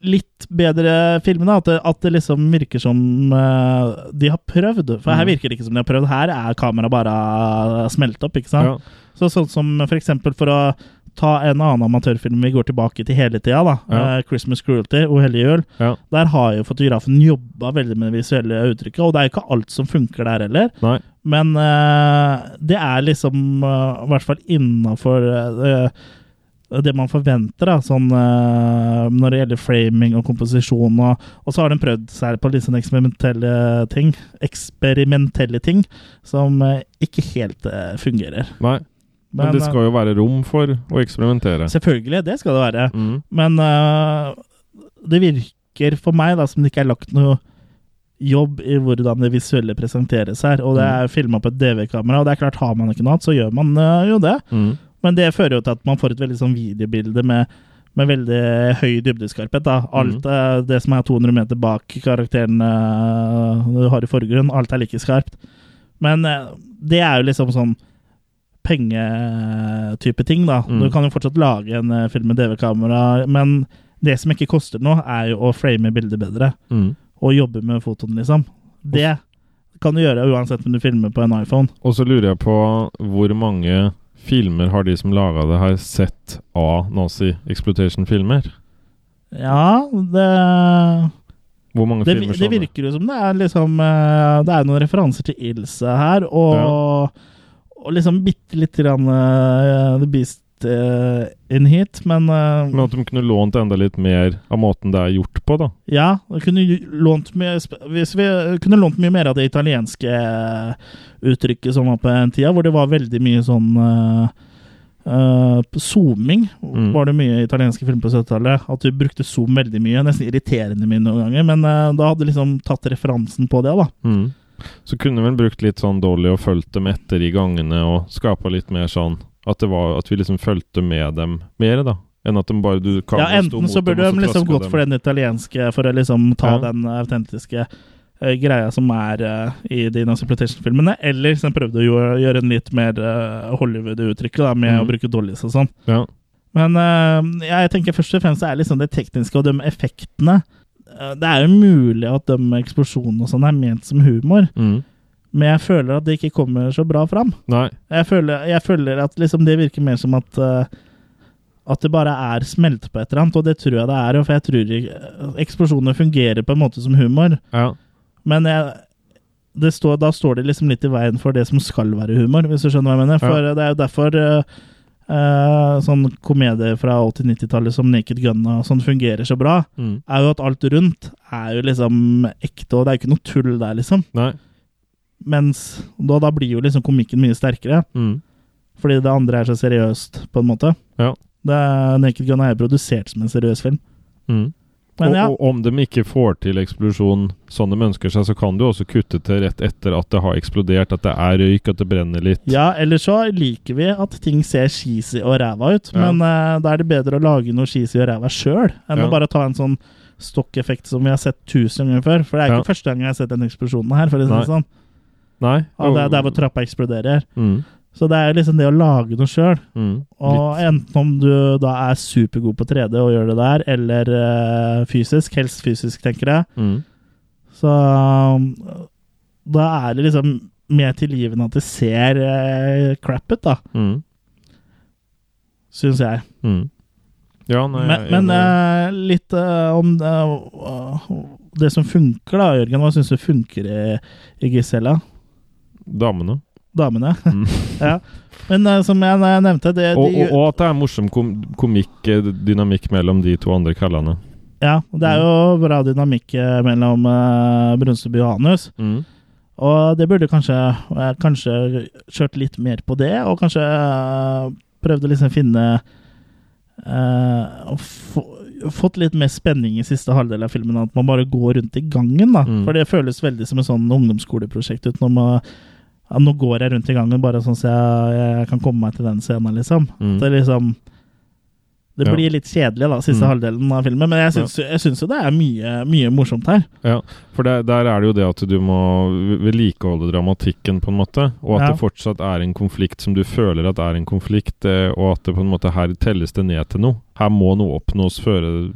Speaker 2: litt bedre film. Da. At, det, at det liksom virker som eh, de har prøvd. For her
Speaker 3: Mhm.
Speaker 2: virker det ikke som de har prøvd. Her er kameraet bare eh, smelt opp, ikke sant.
Speaker 3: Ja.
Speaker 2: Så sånn som for eksempel for å ta en annen amatørfilm vi går tilbake til hele tida, da.
Speaker 3: Ja.
Speaker 2: eh, 'Christmas Cruelty' og 'Hellige jul'.
Speaker 3: Ja.
Speaker 2: Der har jo fotografen jobba veldig med det visuelle uttrykket, og det er jo ikke alt som funker der heller.
Speaker 3: Nei.
Speaker 2: Men eh, det er liksom eh, I hvert fall innafor det man forventer, da, sånn eh, når det gjelder framing og komposisjon. Og, og så har den prøvd seg på litt sånn eksperimentelle ting. Eksperimentelle ting som eh, ikke helt eh, fungerer.
Speaker 3: Nei. Men, det
Speaker 2: eh,
Speaker 3: skal jo være rom for å eksperimentere.
Speaker 2: Selvfølgelig, det skal det være.
Speaker 3: Mm.
Speaker 2: Men eh, det virker for meg da som det ikke er lagt noe jobb i hvordan det visuelle presenteres her. Og det er filma på et DV-kamera, og det er klart har man ikke noe annet, så gjør man eh, jo det.
Speaker 3: Mm.
Speaker 2: Men det fører jo til at man får et veldig sånn videobilde med, med veldig høy dybdeskarphet. da. Alt eh, det som er 200 meter bak karakteren eh, du har i forgrunnen, alt er like skarpt. Men eh, det er jo liksom sånn pengetype ting, da.
Speaker 3: Mm.
Speaker 2: Du kan jo fortsatt lage en eh, film med DV-kamera, men det som ikke koster noe, er jo å frame bildet bedre.
Speaker 3: Mm.
Speaker 2: Og jobbe med fotoen, liksom. Det kan du gjøre uansett om du filmer på en iPhone.
Speaker 3: Og så lurer jeg på hvor mange filmer har de som laga det, har sett av nazi-exploitation-filmer?
Speaker 2: Ja, det
Speaker 3: Hvor mange
Speaker 2: det,
Speaker 3: filmer
Speaker 2: det virker jo som det er liksom eh, Det er noen referanser til Ilse her, og, og liksom bitte lite grann eh, The Beast eh, in hit, men, eh,
Speaker 3: Men at de kunne lånt enda litt mer av måten det er gjort på, da.
Speaker 2: Ja, vi kunne jo lånt mye, sp- hvis vi kunne lånt mye mer av det italienske eh, uttrykket som var på den tida, hvor det var veldig mye sånn eh, eh, Zooming
Speaker 3: Mm.
Speaker 2: var det mye i italienske filmer på 70-tallet. At du brukte zoom veldig mye. Nesten irriterende mye noen ganger. Men eh, da hadde du liksom tatt referansen på det, da.
Speaker 3: Mm. Så kunne vel brukt litt sånn Dolly og fulgt dem etter i gangene og skapa litt mer sånn at, det var, at vi liksom fulgte med dem mer, da. Enn at de bare du
Speaker 2: Ja, Enten så burde de liksom gått for den italienske for å liksom ta
Speaker 3: Ja.
Speaker 2: den autentiske eh, greia som er eh, i de Nancy Plantation-filmene, eller så prøvde å gjøre, gjøre en litt mer eh, Hollywood-uttrykk da, med
Speaker 3: Mhm.
Speaker 2: å bruke dollies og sånn.
Speaker 3: Ja.
Speaker 2: Men eh, jeg tenker først og fremst er liksom det tekniske og de effektene eh, Det er jo mulig at de eksplosjonene og sånn er ment som humor,
Speaker 3: Mm.
Speaker 2: men jeg føler at det ikke kommer så bra fram.
Speaker 3: Nei.
Speaker 2: Jeg føler, jeg føler at liksom det virker mer som at eh, At det bare er smelte på et eller annet, og det tror jeg det er. For jeg tror ikke- eh, eksplosjoner fungerer på en måte som humor,
Speaker 3: Ja.
Speaker 2: men jeg det står, da står det liksom litt i veien for det som skal være humor, hvis du skjønner hva jeg mener. For det er jo derfor eh, eh, sånn komedie fra 80-90-tallet som Naked Gun og sånn fungerer så bra,
Speaker 3: Mm.
Speaker 2: er jo at alt rundt er jo liksom ekte, og det er jo ikke noe tull der, liksom.
Speaker 3: Nei.
Speaker 2: Mens da, da blir jo liksom komikken mye sterkere.
Speaker 3: Mm.
Speaker 2: Fordi det andre er så seriøst, på en måte.
Speaker 3: Ja.
Speaker 2: Det er, Naked Gun er jo produsert som en seriøs film.
Speaker 3: Mm.
Speaker 2: Men
Speaker 3: Og,
Speaker 2: ja,
Speaker 3: og om de ikke får til eksplosjon sånn de ønsker seg, så kan du også kutte til rett etter at det har eksplodert, at det er røyk, at det brenner litt.
Speaker 2: ja ellers så liker vi at ting ser cheesy og ræva ut,
Speaker 3: Ja.
Speaker 2: men eh, da er det bedre å lage noe cheesy og ræva sjøl, enn
Speaker 3: Ja.
Speaker 2: å bare ta en sånn stokkeffekt som vi har sett tusen ganger før. For det er
Speaker 3: Ja.
Speaker 2: ikke første gang jeg har sett den eksplosjonen her, for å si
Speaker 3: Nei.
Speaker 2: det sånn.
Speaker 3: Nei.
Speaker 2: Ja, det er der hvor trappa eksploderer.
Speaker 3: mm.
Speaker 2: Så det er liksom det å lage noe sjøl.
Speaker 3: Mm.
Speaker 2: Og enten om du da er supergod på 3D og gjør det der, eller eh, fysisk, helst fysisk, tenker jeg,
Speaker 3: Litt. Mm.
Speaker 2: Så um, da er det liksom mer tilgivende at det ser eh, crap ut, da,
Speaker 3: Mm.
Speaker 2: syns jeg.
Speaker 3: Mm. Ja, nei,
Speaker 2: Men,
Speaker 3: jeg-
Speaker 2: men
Speaker 3: jeg-
Speaker 2: eh, litt eh, om eh, det som funker, da, Jørgen. Hva syns du funker i, i Gisella?
Speaker 3: damene.
Speaker 2: Damene.
Speaker 3: Mm.
Speaker 2: ja. Men eh, som jeg, jeg nevnte det,
Speaker 3: Og,
Speaker 2: de,
Speaker 3: og, og at det er morsom kom komikk, eh, dynamikk mellom de to andre kallene.
Speaker 2: ja, det er jo bra dynamikk eh, mellom eh, Brunsteby og Hanus.
Speaker 3: Mm.
Speaker 2: Og det burde kanskje eh, Kanskje kjørt litt mer på det, og kanskje eh, prøvd å liksom finne eh, å få- Fått litt mer spenning i siste halvdel av filmen, at man bare går rundt i gangen. da
Speaker 3: Mm.
Speaker 2: For det føles veldig som en sånn ungdomsskoleprosjekt. ut når man ja, Nå går jeg rundt i gangen bare sånn så jeg, jeg kan komme meg til den scenen, liksom.
Speaker 3: Mm.
Speaker 2: Det, er liksom, det
Speaker 3: Ja.
Speaker 2: blir litt kjedelig, da, siste
Speaker 3: Mm.
Speaker 2: halvdelen av filmen. Men jeg syns, jeg syns jo det er mye, mye morsomt her.
Speaker 3: For der, der er det jo det at du må vedlikeholde dramatikken, på en måte. Og at
Speaker 2: Ja.
Speaker 3: det fortsatt er en konflikt som du føler at er en konflikt, eh, og at det på en måte her telles det ned til noe. Her må noe oppnås før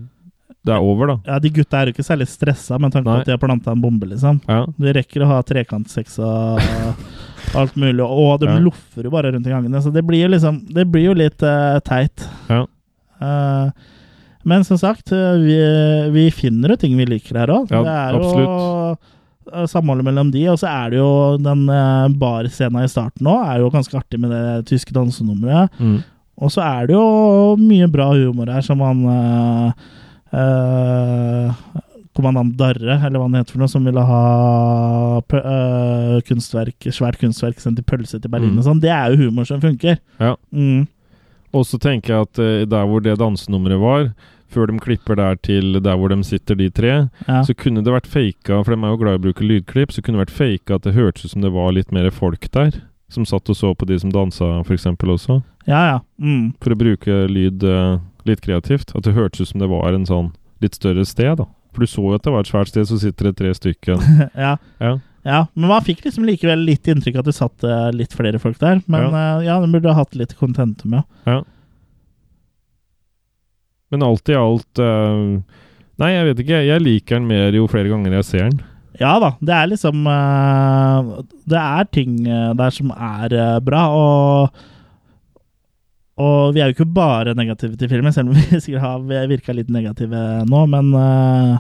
Speaker 3: det er over, da.
Speaker 2: Ja, De gutta er jo ikke særlig stressa med tanke på
Speaker 3: Nei.
Speaker 2: at de har planta en bombe. liksom.
Speaker 3: Ja.
Speaker 2: De rekker å ha trekantsex og alt mulig, og de
Speaker 3: Ja.
Speaker 2: loffer jo bare rundt i gangene. Så det blir jo liksom Det blir jo litt eh, teit.
Speaker 3: Ja.
Speaker 2: Eh, men som sagt, eh, vi, vi finner jo ting vi liker her òg.
Speaker 3: Ja,
Speaker 2: det er
Speaker 3: absolutt.
Speaker 2: jo eh, samholdet mellom de, og så er det jo den eh, barscena i starten òg. Er jo ganske artig med det tyske dansenummeret.
Speaker 3: Mm.
Speaker 2: Og så er det jo mye bra humor her, som han eh, eh, Kommandant Darre, eller hva han heter for noe, som ville ha pø- eh, kunstverk, svært kunstverk sendt i pølse til Berlin
Speaker 3: Mm.
Speaker 2: og sånn. Det er jo humor som funker.
Speaker 3: Ja.
Speaker 2: Mm.
Speaker 3: Og så tenker jeg at eh, der hvor det dansenummeret var, før de klipper der til der hvor de sitter, de tre,
Speaker 2: Ja.
Speaker 3: Så kunne det vært faka, for de er jo glad i å bruke lydklipp, så kunne det vært faka at det hørtes ut som det var litt mer folk der. Som satt og så på de som dansa, f.eks. også.
Speaker 2: ja, ja. Mm.
Speaker 3: For å bruke lyd eh, litt kreativt. At det hørtes ut som det var en sånn litt større sted, da. For du så jo at det var et svært sted, så sitter det tre stykker.
Speaker 2: ja.
Speaker 3: Ja.
Speaker 2: ja. Men man fikk liksom likevel litt inntrykk av at det satt eh, litt flere folk der. Men ja, ja den burde ha hatt litt contentum, ja.
Speaker 3: Men alt i alt eh, Nei, jeg vet ikke. Jeg liker den mer jo flere ganger jeg ser den.
Speaker 2: Ja da, det er liksom eh, Det er ting eh, der som er eh, bra, og og vi er jo ikke bare negative til filmen, selv om vi sikkert har virka litt negative nå, men eh,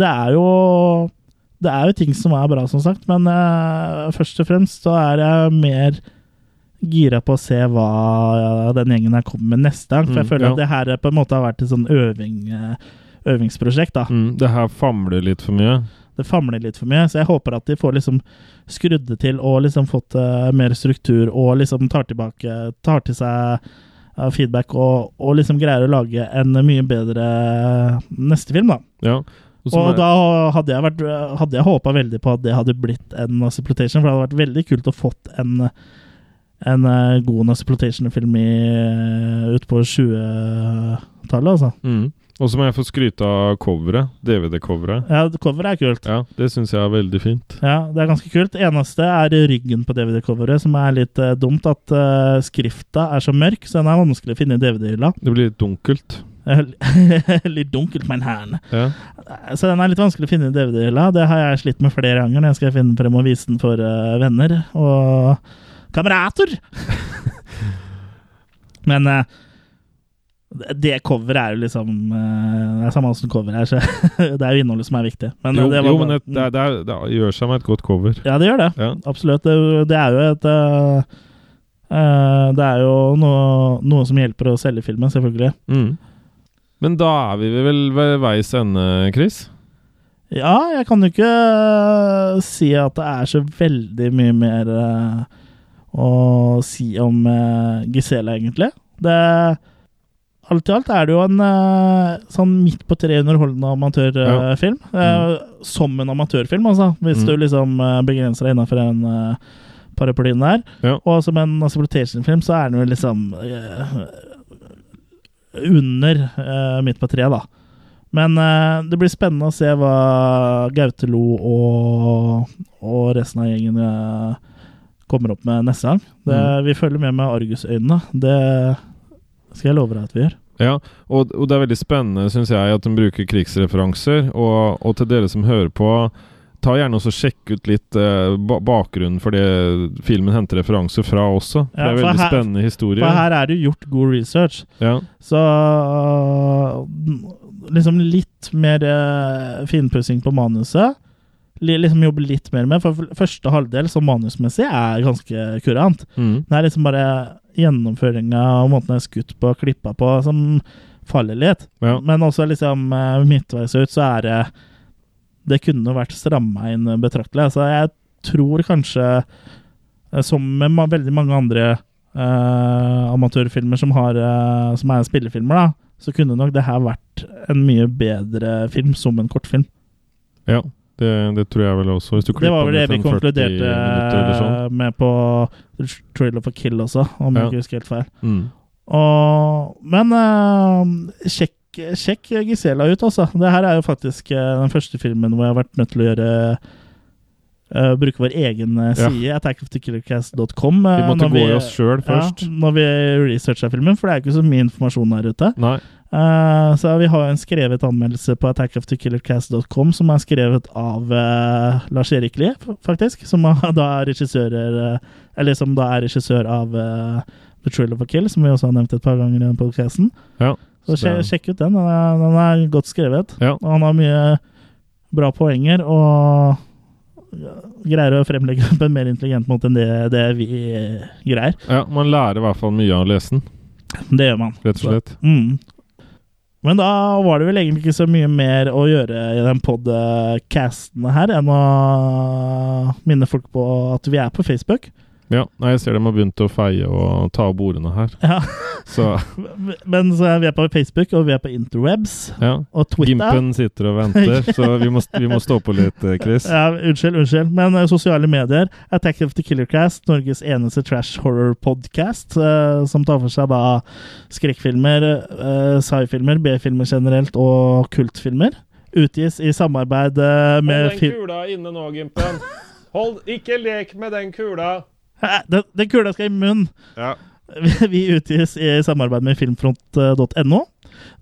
Speaker 2: det er jo Det er jo ting som er bra, som sagt, men eh, først og fremst så er jeg mer gira på å se hva eh, den gjengen her kommer med neste gang, for jeg
Speaker 3: Mm,
Speaker 2: føler
Speaker 3: ja.
Speaker 2: at det her på en måte har vært et sånn øving, eh, øvingsprosjekt, da.
Speaker 3: Mm, det her famler litt for mye.
Speaker 2: Det famler litt for mye, så jeg håper at de får liksom skrudd det til og liksom fått eh, mer struktur og liksom tar tilbake Tar til seg eh, feedback og, og liksom greier å lage en mye bedre eh, neste film, da.
Speaker 3: Ja. Og som
Speaker 2: og
Speaker 3: er-
Speaker 2: da hadde jeg, vært, eh, hadde jeg håpa veldig på at det hadde blitt en Nossiplotation, for det hadde vært veldig kult å fått en en eh, god Nossiplotation-film utpå 20-tallet, altså.
Speaker 3: Mm. Og så må jeg få skryte av coveret. DVD-coveret.
Speaker 2: Ja, coveret er kult.
Speaker 3: Ja, det syns jeg er veldig fint.
Speaker 2: Ja, det er ganske kult. Eneste er ryggen på DVD-coveret, som er litt eh, dumt. At eh, skrifta er så mørk, så den er vanskelig å finne i DVD-hylla.
Speaker 3: Det blir litt dunkelt.
Speaker 2: Eh, litt dunkelt, men her'n.
Speaker 3: Ja.
Speaker 2: Så den er litt vanskelig å finne i DVD-hylla. Det har jeg slitt med flere ganger når jeg skal finne frem og vise den for eh, venner og kamerater. men eh, det coveret er jo liksom eh, Det er samme åssen cover er, så det er jo innholdet som er viktig. Men, eh,
Speaker 3: Jo,
Speaker 2: det var
Speaker 3: jo,
Speaker 2: bare-
Speaker 3: men det, det, er- det, er- det gjør seg med et godt cover.
Speaker 2: Ja, det gjør det.
Speaker 3: Ja.
Speaker 2: Absolutt. Det, det er jo et øh, øh, Det er jo noe, noe som hjelper å selge filmen, selvfølgelig.
Speaker 3: Mm. Men da er vi vel ved veis ende, Chris?
Speaker 2: Ja, jeg kan jo ikke øh, si at det er så veldig mye mer øh, å si om øh, Gisela, egentlig. Det Alt i alt er det jo en øh, sånn midt på treet underholdende amatørfilm. eh, Som en amatørfilm, altså. Hvis
Speaker 3: Mm.
Speaker 2: du liksom øh, begrenser deg innafor en øh, paraplyen der.
Speaker 3: Ja.
Speaker 2: Og som en Exploitation-film så er den jo liksom eh, under eh, midt på treet, da. Men eh, det blir spennende å se hva Gautelo og, og resten av gjengen eh, kommer opp med neste gang. Det, Vi følger med med argusøynene. Det skal jeg love deg at vi gjør.
Speaker 3: Ja, og, og det er veldig spennende, syns jeg, at de bruker krigsreferanser. Og, og til dere som hører på, ta gjerne også sjekk ut litt eh, ba bakgrunnen for det filmen henter referanser fra også. For
Speaker 2: Ja,
Speaker 3: det er
Speaker 2: for
Speaker 3: veldig
Speaker 2: her-
Speaker 3: spennende historier.
Speaker 2: For her er det jo gjort god research.
Speaker 3: Ja.
Speaker 2: Så øh, liksom litt mer øh, finpussing på manuset. Li- Liksom jobbe litt mer med, for f- første halvdel sånn manusmessig er ganske kurant.
Speaker 3: Mm.
Speaker 2: Det er liksom bare gjennomføringa og måten jeg er skutt på og klippa på, som faller litt.
Speaker 3: Ja.
Speaker 2: Men også liksom øh, midtveis ut så er det Det kunne vært stramma inn betraktelig. Så jeg tror kanskje, øh, som med ma veldig mange andre eh, amatørfilmer som, har, eh, som er spillefilmer, da, så kunne nok det her vært en mye bedre film som en kortfilm.
Speaker 3: ja. Det, det tror jeg vel også. Hvis du
Speaker 2: Det var
Speaker 3: klipper
Speaker 2: vel det
Speaker 3: ned
Speaker 2: vi
Speaker 3: til en 40
Speaker 2: konkluderte
Speaker 3: minutter eller sånn.
Speaker 2: eh, med på Trailer for Kill også, om
Speaker 3: Ja.
Speaker 2: jeg ikke husker helt feil.
Speaker 3: Mm.
Speaker 2: Og, men eh, sjekk, sjekk Gisela ut, altså. Det her er jo faktisk eh, den første filmen hvor jeg har vært nødt til å gjøre eh, bruke vår egen eh,
Speaker 3: Ja.
Speaker 2: side, attackofthekillercast.com.
Speaker 3: Vi måtte gå i oss sjøl først.
Speaker 2: eh, Ja, når vi researcha filmen, for det er ikke så mye informasjon der ute.
Speaker 3: Nei.
Speaker 2: Eh, så vi har jo en skrevet anmeldelse på attackofthekillercast.com, som er skrevet av eh, Lars-Erik Lie, f- faktisk. Som er, da er regissører eh, Eller som da er regissør av eh, The Trill of a Kill, som vi også har nevnt et par ganger i den podcasten.
Speaker 3: Ja.
Speaker 2: Så
Speaker 3: Så
Speaker 2: sje-
Speaker 3: det-
Speaker 2: sjekk ut den. Den er, den er godt skrevet.
Speaker 3: Ja.
Speaker 2: Og han har mye bra poenger og greier å fremlegge det på en mer intelligent måte enn det, det vi greier.
Speaker 3: ja, man lærer i hvert fall mye av å lese den,
Speaker 2: Det gjør man.
Speaker 3: rett og slett.
Speaker 2: Mm. Men da var det vel egentlig ikke så mye mer å gjøre i den podcasten her enn å minne folk på at vi er på Facebook.
Speaker 3: Ja, Nei, jeg ser de har begynt å feie og ta av bordene her.
Speaker 2: Ja.
Speaker 3: Så
Speaker 2: Men så er vi på Facebook, og vi er på interwebs
Speaker 3: ja.
Speaker 2: og Twitter.
Speaker 3: Gimpen sitter og venter, så vi må, vi må stå på litt, eh, Chris.
Speaker 2: Ja, unnskyld, unnskyld. Men eh, sosiale medier. Attack of the Killer Cast, Norges eneste trash horror podcast, eh, som tar for seg da skrekkfilmer, eh, sci-filmer, B-filmer generelt og kultfilmer. Utgis i samarbeid eh, med fil-
Speaker 7: kula inne nå, Gimpen. Hold, ikke lek med den kula.
Speaker 2: Hæ? Den, den kula skal i munnen!
Speaker 3: Ja.
Speaker 2: Vi- Vi utgis i samarbeid med filmfront.no.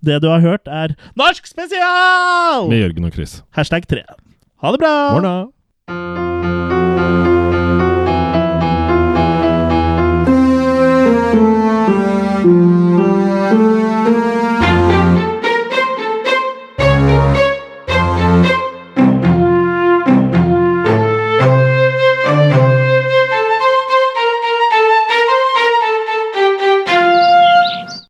Speaker 2: Det du har hørt, er Norsk spesial!
Speaker 3: Med Jørgen og Chris.
Speaker 2: Hashtag 3.
Speaker 11: Ha det bra!
Speaker 2: Morna.